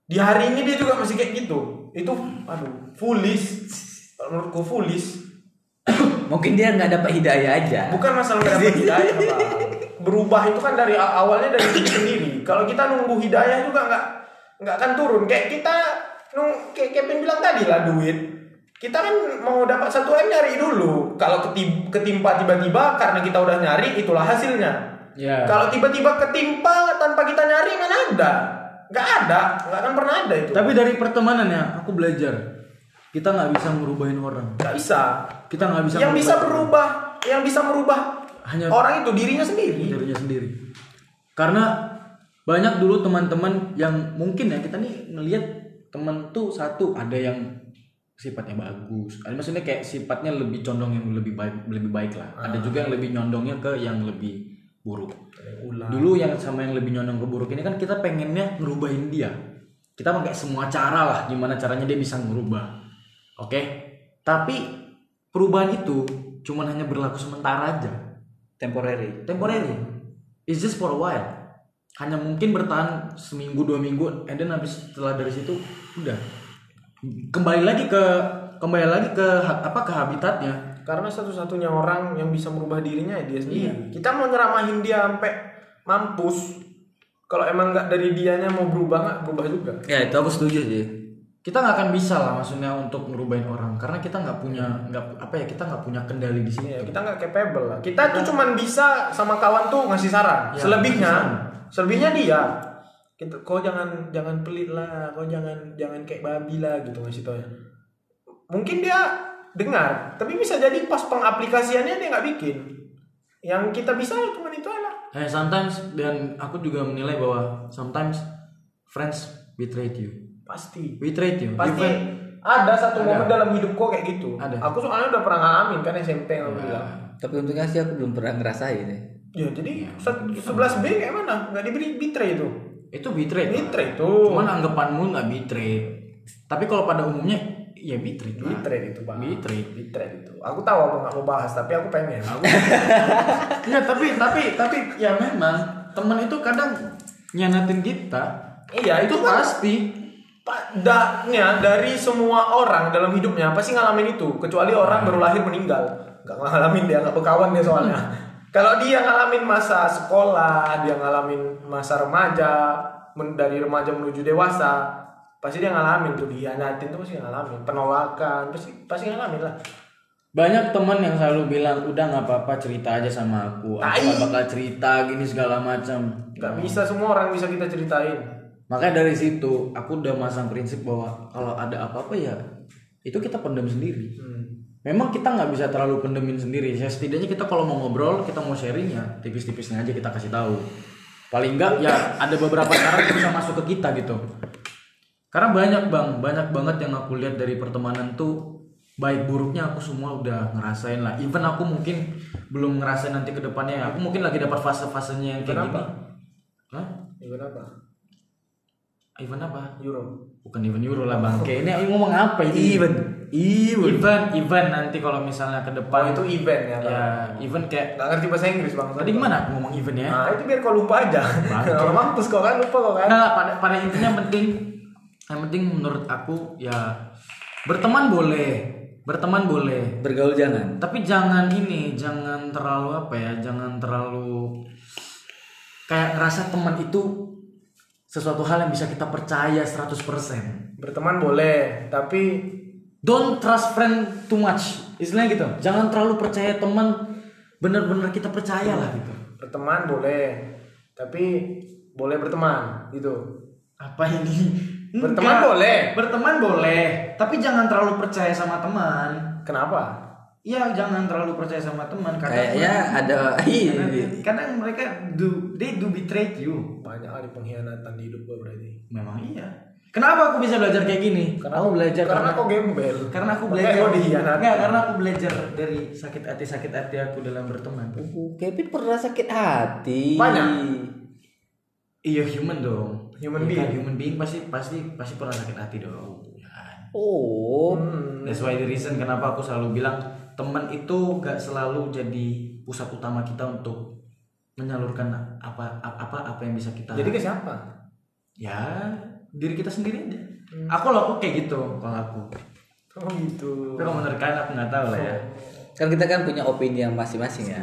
Speaker 2: di hari ini dia juga masih kayak gitu. Itu aduh, foolish. Kalau Menurutku foolish.
Speaker 4: Mungkin dia nggak dapat hidayah aja.
Speaker 2: Bukan masalah nggak dapat hidayah, Pak. Berubah itu kan dari a- awalnya dari diri sendiri. Kalau kita nunggu hidayah juga nggak nggak akan turun. Kayak kita nung kayak Kevin bilang tadi lah duit. Kita kan mau dapat satu m nyari dulu. Kalau keti- ketimpa tiba-tiba karena kita udah nyari itulah hasilnya.
Speaker 6: Iya.
Speaker 3: Ya.
Speaker 2: Kalau tiba-tiba ketimpa tanpa kita nyari mana ada? Nggak ada, nggak akan pernah ada itu.
Speaker 6: Tapi dari pertemanan ya, aku belajar. Kita nggak bisa ngerubahin orang.
Speaker 2: Nggak bisa.
Speaker 6: Kita nggak bisa.
Speaker 2: yang bisa
Speaker 6: ngerubah
Speaker 2: berubah, yang bisa merubah
Speaker 6: Hanya-
Speaker 2: orang itu dirinya sendiri.
Speaker 6: dirinya sendiri. Karena banyak dulu teman-teman yang mungkin ya kita nih ngelihat teman tuh satu
Speaker 3: ada yang sifatnya bagus ada maksudnya kayak sifatnya lebih condong yang lebih baik lebih baik lah ada juga yang lebih nyondongnya ke yang lebih buruk dulu yang sama yang lebih nyondong ke buruk ini kan kita pengennya ngerubahin dia kita pakai semua cara lah gimana caranya dia bisa ngerubah oke tapi perubahan itu cuman hanya berlaku sementara aja
Speaker 4: Temporary.
Speaker 3: temporary it's just for a while hanya mungkin bertahan seminggu dua minggu and then habis setelah dari situ udah
Speaker 6: kembali lagi ke kembali lagi ke ha- apa ke habitatnya.
Speaker 2: karena satu-satunya orang yang bisa merubah dirinya ya dia sendiri kita mau nyeramahin dia sampai mampus kalau emang nggak dari dianya mau berubah nggak berubah juga
Speaker 4: Ya itu aku setuju sih.
Speaker 6: Kita nggak akan bisa lah maksudnya untuk ngerubahin orang karena kita nggak punya nggak apa ya kita nggak punya kendali di sini.
Speaker 2: Iya, kita nggak capable lah kita tuh cuman bisa sama kawan tuh ngasih saran selebihnya selebihnya dia kita kau jangan jangan pelit lah kau jangan jangan kayak babi lah gitu ngasih taunya mungkin dia dengar tapi bisa jadi pas pengaplikasiannya dia nggak bikin yang kita bisa cuman itu aja
Speaker 6: Eh, sometimes dan aku juga menilai bahwa sometimes friends betrayed you.
Speaker 2: pasti
Speaker 6: Betrayed you.
Speaker 2: pasti
Speaker 6: Even-
Speaker 2: ada satu momen dalam hidupku kayak gitu
Speaker 6: Ada.
Speaker 2: aku soalnya udah pernah ngalamin kan SMP yang aku bilang
Speaker 4: Tapi untungnya sih aku belum pernah ngerasain ya.
Speaker 2: ya jadi sebelas B kayak mana nggak diberi betray itu
Speaker 6: itu betrayed.
Speaker 2: betray itu
Speaker 6: Cuman anggapanmu nggak betrayed. Tapi kalau pada umumnya ya betrayed. lah.
Speaker 2: betray itu bang
Speaker 6: Betrayed.
Speaker 2: betray itu aku tahu aku nggak mau bahas tapi aku pengen aku
Speaker 6: Enggak, tapi tapi tapi ya memang teman itu kadang nyanatin kita.
Speaker 2: iya itu
Speaker 6: Itu
Speaker 2: kan
Speaker 6: pasti.
Speaker 2: padanya dari semua orang dalam hidupnya pasti ngalamin itu kecuali orang baru lahir meninggal nggak ngalamin dia nggak berkawan dia soalnya kalau dia ngalamin masa sekolah dia ngalamin masa remaja men- dari remaja menuju dewasa pasti dia ngalamin tuh dihianatin tuh pasti ngalamin penolakan pasti pasti ngalamin lah
Speaker 3: Banyak teman yang selalu bilang udah nggak apa-apa cerita aja sama aku, aku
Speaker 2: Tai.
Speaker 3: nggak bakal cerita gini segala macam.
Speaker 2: nggak bisa semua orang bisa kita ceritain
Speaker 3: Makanya dari situ aku udah masang prinsip bahwa kalau ada apa-apa ya itu kita pendem sendiri.
Speaker 2: Hmm,
Speaker 3: Memang kita nggak bisa terlalu pendemin sendiri. Ya setidaknya kita kalau mau ngobrol, kita mau sharing ya tipis-tipisnya aja kita kasih tahu. Paling nggak ya ada beberapa cara yang bisa masuk ke kita gitu.
Speaker 6: Karena banyak bang, banyak banget yang aku lihat dari pertemanan tuh baik buruknya aku semua udah ngerasain lah. Even aku mungkin belum ngerasain nanti ke depannya. Aku mungkin lagi dapat fase-fasenya yang kayak
Speaker 2: Kenapa?
Speaker 6: gini. Hah?
Speaker 2: ya, kenapa
Speaker 3: event apa
Speaker 2: Euro.
Speaker 3: bukan event Euro lah bangke ini ngomong apa ini
Speaker 4: Event.
Speaker 3: event event event nanti kalau misalnya ke
Speaker 2: Oh,
Speaker 3: depan
Speaker 2: itu event ya. Bang?
Speaker 3: ya event kayak
Speaker 2: Nggak ngerti bahasa Inggris bang.
Speaker 3: tadi gimana aku ngomong event ya
Speaker 2: Nah itu biar kau lupa aja. [LAUGHS] Kalau mampus kau kan lupa kau kan.
Speaker 3: Enggak, enggak, pada pada intinya yang penting yang penting menurut aku ya berteman boleh, berteman boleh.
Speaker 4: Bergaul jangan.
Speaker 3: Tapi jangan ini, jangan terlalu apa ya, jangan terlalu kayak ngerasa teman itu sesuatu hal yang bisa kita percaya 100%.
Speaker 2: Berteman boleh, tapi
Speaker 3: Don't trust friend too much. Istilahnya gitu. Jangan terlalu percaya teman bener-bener kita percaya lah gitu.
Speaker 2: berteman boleh, tapi boleh berteman gitu.
Speaker 3: Apa ini?
Speaker 2: Berteman
Speaker 3: Enggak.
Speaker 2: boleh.
Speaker 3: Berteman boleh, tapi jangan terlalu percaya sama teman.
Speaker 2: Kenapa?
Speaker 3: Iya jangan terlalu percaya sama teman karena
Speaker 4: Kayaknya ada
Speaker 3: karena, karena mereka do they do betray you.
Speaker 2: Banyak kali pengkhianatan di hidup gue berarti.
Speaker 3: Memang iya. Kenapa aku bisa belajar kayak gini? aku belajar
Speaker 2: karena
Speaker 3: karena
Speaker 2: kau gembel.
Speaker 3: karena aku
Speaker 2: Makanya
Speaker 3: belajar
Speaker 2: kau dihianati.
Speaker 3: Nggak, karena aku belajar dari sakit hati sakit hati aku dalam berteman.
Speaker 4: Kevin pernah sakit hati.
Speaker 2: Banyak.
Speaker 3: Iya human dong.
Speaker 2: Human
Speaker 3: Iya
Speaker 2: being.
Speaker 3: kan, human being pasti pasti pasti pernah sakit hati dong. Ya kan?
Speaker 4: Oh.
Speaker 3: That's why the reason kenapa aku selalu bilang teman itu gak selalu jadi pusat utama kita untuk menyalurkan apa apa apa yang bisa kita
Speaker 2: Jadi ke siapa?
Speaker 3: ya diri kita sendiri aja
Speaker 4: Hmm.
Speaker 3: aku loh aku kayak gitu kalau aku
Speaker 2: Oh gitu.
Speaker 3: tapi kalau menurut kalian aku nggak tahu lah ya
Speaker 4: Kan kita kan punya opini yang masing-masing ya.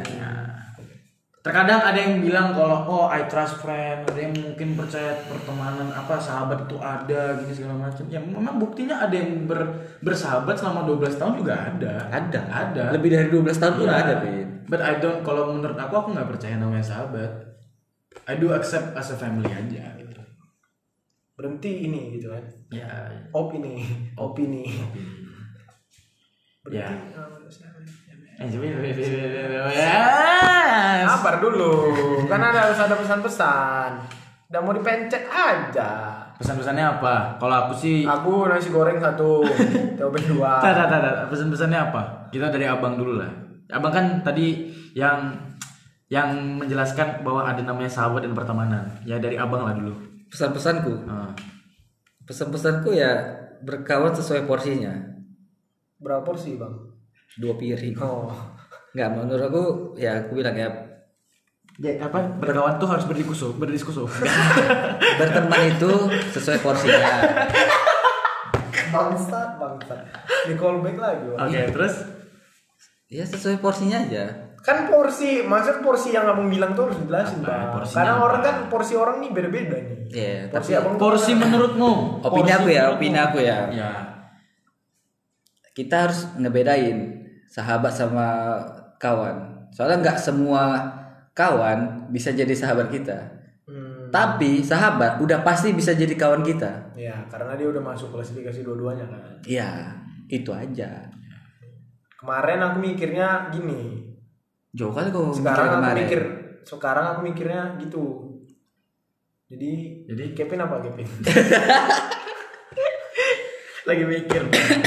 Speaker 3: terkadang ada yang bilang kalau oh I trust friend ada yang mungkin percaya pertemanan apa sahabat itu ada gini segala macam ya memang buktinya ada yang ber- bersahabat selama 12 tahun juga ada
Speaker 4: Ada.
Speaker 3: ada
Speaker 4: Lebih dari 12 tahun pun
Speaker 3: Iya.
Speaker 4: ada, Pin.
Speaker 3: but I don't kalau menurut aku aku nggak percaya namanya sahabat I do accept as a family aja gitu
Speaker 2: Berhenti ini gitu kan.
Speaker 3: ya
Speaker 2: Op ini, opini.
Speaker 3: ya
Speaker 4: Ya,
Speaker 3: Eh, Ya.
Speaker 2: Sabar dulu. Kan ada harus ada pesan-pesan. Udah mau dipencet aja.
Speaker 3: Pesan-pesannya apa? Kalau aku sih
Speaker 4: Ah.
Speaker 2: Aku nasi goreng satu, cobek dua.
Speaker 3: Tata, tata, pesan-pesannya apa? Kita dari abang dulu lah. Abang kan tadi yang yang menjelaskan bahwa ada namanya sahabat dan pertemanan. Ya dari abang lah dulu.
Speaker 4: Pesan-pesanku.
Speaker 3: Ah.
Speaker 4: Pesan-pesanku ya berkawan sesuai porsinya.
Speaker 2: Berapa porsi bang?
Speaker 4: Dua piring.
Speaker 2: Oh,
Speaker 4: Enggak, menurut aku ya aku bilang ya
Speaker 3: Ya, apa? Berkawan tuh harus berdiskusi,
Speaker 4: [LAUGHS]
Speaker 3: berdiskusi.
Speaker 4: berteman itu sesuai porsinya.
Speaker 2: bangsat bangsat. Di callback lagi. Bang.
Speaker 3: Oke, terus
Speaker 4: Ya sesuai porsinya aja.
Speaker 2: Kan porsi, maksud porsi yang abang bilang tuh harus dijelasin
Speaker 3: Apa?
Speaker 2: bang.
Speaker 3: Porsinya
Speaker 2: Karena
Speaker 3: apa?
Speaker 2: orang kan porsi orang nih beda-beda nih.
Speaker 4: Iya,
Speaker 2: porsi
Speaker 4: tapi-
Speaker 2: abang tuh kan-
Speaker 3: porsi menurutmu?
Speaker 4: Opini
Speaker 3: Porsi
Speaker 4: aku ya,
Speaker 3: menurutmu?
Speaker 4: opini aku ya.
Speaker 3: Ya.
Speaker 4: Kita harus ngebedain sahabat sama kawan. Soalnya nggak semua kawan bisa jadi sahabat kita.
Speaker 2: Hmm,
Speaker 4: Tapi sahabat udah pasti bisa jadi kawan kita.
Speaker 2: ya karena dia udah masuk klasifikasi dua-duanya kan.
Speaker 4: Ya, itu aja.
Speaker 2: Kemarin aku mikirnya gini.
Speaker 4: Jauh kali kok
Speaker 2: Sekarang aku mikir, sekarang aku mikirnya gitu. Jadi, jadi Kevin apa
Speaker 3: [LAUGHS]
Speaker 2: Kevin?
Speaker 3: Lagi mikir.
Speaker 2: Nggak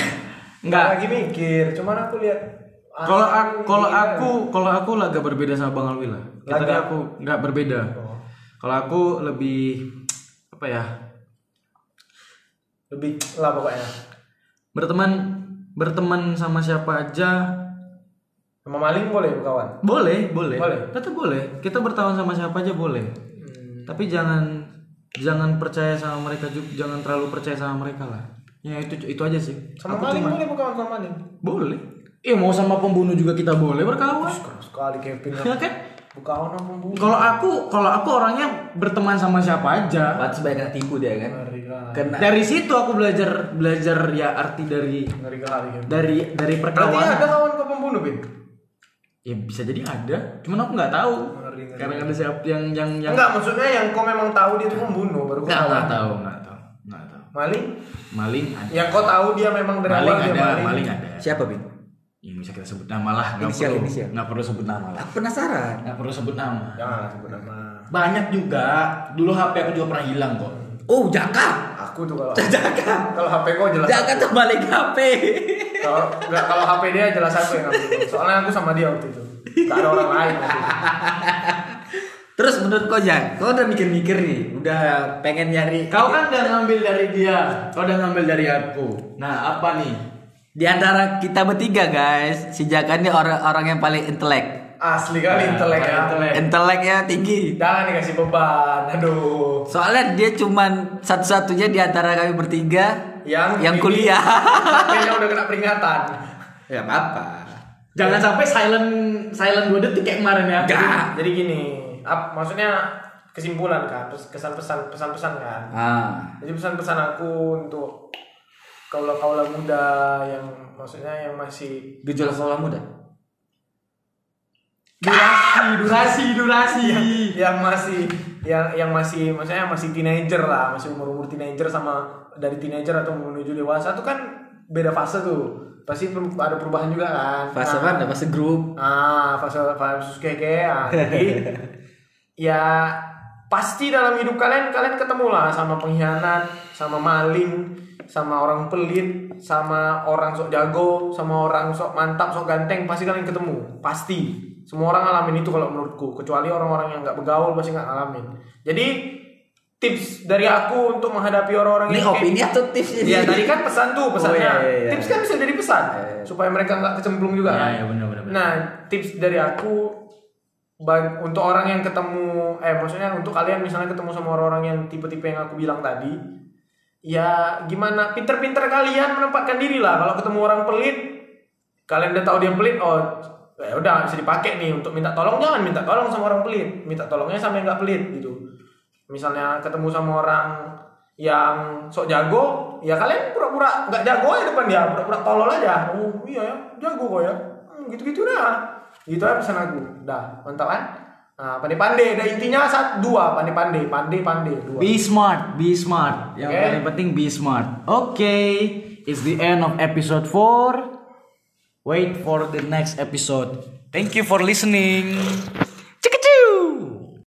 Speaker 3: Enggak,
Speaker 2: lagi mikir, cuman aku lihat.
Speaker 3: Kalau aku,
Speaker 2: Ah,
Speaker 3: kalau
Speaker 2: ini kan.
Speaker 3: aku, kalau aku agak berbeda sama Bang Alwi lah. Ya,
Speaker 2: Laga.
Speaker 3: Tadi aku nggak berbeda.
Speaker 2: Oh.
Speaker 3: Kalau aku lebih apa ya
Speaker 2: lebih lah pokoknya
Speaker 3: berteman berteman sama siapa aja
Speaker 2: sama maling boleh kawan
Speaker 3: boleh boleh
Speaker 2: Boleh.
Speaker 3: tetap boleh kita berteman sama siapa aja boleh
Speaker 2: Hmm.
Speaker 3: tapi jangan jangan percaya sama mereka juga jangan terlalu percaya sama mereka lah ya itu itu aja sih
Speaker 2: sama
Speaker 3: Aku
Speaker 2: maling
Speaker 3: cuma-
Speaker 2: boleh bukan sama maling
Speaker 3: boleh eh mau sama pembunuh juga kita boleh berkawan
Speaker 2: keras sekali Kevin
Speaker 3: ya kan
Speaker 2: bukan orang pembunuh
Speaker 3: kalau aku kalau aku orangnya berteman sama siapa aja
Speaker 4: Pantes banyak yang tipu dia kan.
Speaker 2: ngeri kali
Speaker 4: Kena
Speaker 3: dari situ aku belajar belajar ya arti dari
Speaker 2: ngeri kali Kevin
Speaker 3: dari dari
Speaker 2: berarti
Speaker 3: perkawanan
Speaker 2: ada kawan kau pembunuh bin
Speaker 3: ya bisa jadi ada cuman aku nggak tahu
Speaker 2: Ngeri, ngeri.
Speaker 3: karena ada siapa yang yang yang Nah.
Speaker 2: enggak maksudnya yang kau memang tahu dia itu pembunuh baru kau
Speaker 3: nggak
Speaker 2: kawan.
Speaker 3: nggak tahu nggak tahu nggak tahu
Speaker 2: maling
Speaker 3: maling ada
Speaker 2: yang kau tahu dia memang dari
Speaker 3: maling
Speaker 2: awal dia
Speaker 3: ada maling ada
Speaker 4: siapa, Bin?
Speaker 3: yang bisa kita sebut nama lah nggak
Speaker 4: Inisial,
Speaker 3: perlu
Speaker 4: inisial.
Speaker 3: nggak perlu sebut nama lah
Speaker 4: Aku penasaran.
Speaker 3: nggak perlu sebut nama
Speaker 2: jangan sebut nama
Speaker 3: banyak juga dulu HP aku juga pernah hilang kok
Speaker 4: Oh, Jaka.
Speaker 2: aku tuh kalau
Speaker 4: Jaka.
Speaker 2: kalau HP kau jelas
Speaker 4: Jaka
Speaker 2: aku.
Speaker 4: tuh balik HP.
Speaker 2: kalau enggak kalau HP dia jelas aku yang ngambil soalnya aku sama dia waktu itu gak ada orang lain waktu itu.
Speaker 4: [LAUGHS] Terus menurut kau Jan, kau udah mikir-mikir nih, udah pengen nyari
Speaker 3: Kau kan udah ngambil dari dia, kau udah ngambil dari aku. Nah, apa nih?
Speaker 4: di antara kita bertiga guys, si Jaka ini orang-orang yang paling intelek.
Speaker 2: Asli kali intelek ya.
Speaker 3: Nah, Intelek.
Speaker 4: Inteleknya tinggi.
Speaker 2: Jangan dikasih beban. Aduh.
Speaker 4: Soalnya dia cuman satu-satunya di antara kami bertiga
Speaker 2: Yang
Speaker 4: yang
Speaker 2: ini-
Speaker 4: kuliah.
Speaker 2: Tapi udah kena peringatan.
Speaker 4: Ya apa-apa.
Speaker 6: Jangan sampai silent silent dua detik kayak kemarin ya.
Speaker 4: Enggak.
Speaker 2: Jadi gini, ap- maksudnya kesimpulan kan, pes- kesan-pesan, pesan-pesan kan.
Speaker 4: Ah,
Speaker 2: Jadi pesan-pesan aku untuk kaula-kaula muda yang maksudnya yang masih
Speaker 4: gejolak sekolah muda.
Speaker 6: Durasi, durasi, durasi.
Speaker 2: [LAUGHS] yang masih yang yang masih maksudnya yang masih teenager lah, masih umur-umur teenager sama dari teenager atau menuju dewasa itu kan beda fase tuh. Pasti per- ada perubahan juga kan.
Speaker 4: Fase
Speaker 2: Nah,
Speaker 4: mana? Fase grup.
Speaker 2: Ah, fase fase keke. ah.
Speaker 4: [LAUGHS]
Speaker 2: Jadi ya pasti dalam hidup kalian kalian ketemu lah sama pengkhianat, sama maling, sama orang pelit, sama orang sok jago, sama orang sok mantap, sok ganteng, pasti kalian ketemu. Pasti. Semua orang ngalamin itu kalau menurutku, kecuali orang-orang yang nggak bergaul pasti nggak ngalamin. Jadi tips dari aku untuk menghadapi orang-orang
Speaker 4: Ini
Speaker 2: yang kayak-
Speaker 4: opini atau tips
Speaker 3: [LAUGHS]
Speaker 4: ini?
Speaker 2: Iya tadi kan pesan tuh pesannya.
Speaker 4: Oh, iya, iya, iya.
Speaker 2: Tips kan bisa jadi pesan supaya mereka nggak kecemplung juga. kan?
Speaker 3: iya, benar, benar, benar.
Speaker 2: Nah tips dari aku ba- untuk orang yang ketemu eh maksudnya untuk kalian misalnya ketemu sama orang-orang yang tipe-tipe yang aku bilang tadi ya gimana pinter-pinter kalian menempatkan diri lah kalau ketemu orang pelit kalian udah tahu dia pelit oh ya udah bisa dipakai nih untuk minta tolong jangan minta tolong sama orang pelit minta tolongnya sama yang nggak pelit gitu misalnya ketemu sama orang yang sok jago ya kalian pura-pura nggak jago aja depan dia pura-pura tolol aja oh iya ya jago kok ya Hmm, gitu-gitu dah gitu aja pesan aku dah mantap kan nah, pandai-pandai dah intinya saat dua pandai-pandai pandai-pandai dua
Speaker 6: Be smart, be smart. Yang
Speaker 2: Oke.
Speaker 6: paling penting be smart. Oke, it's the end of episode 4. Wait for the next episode. Thank you for listening.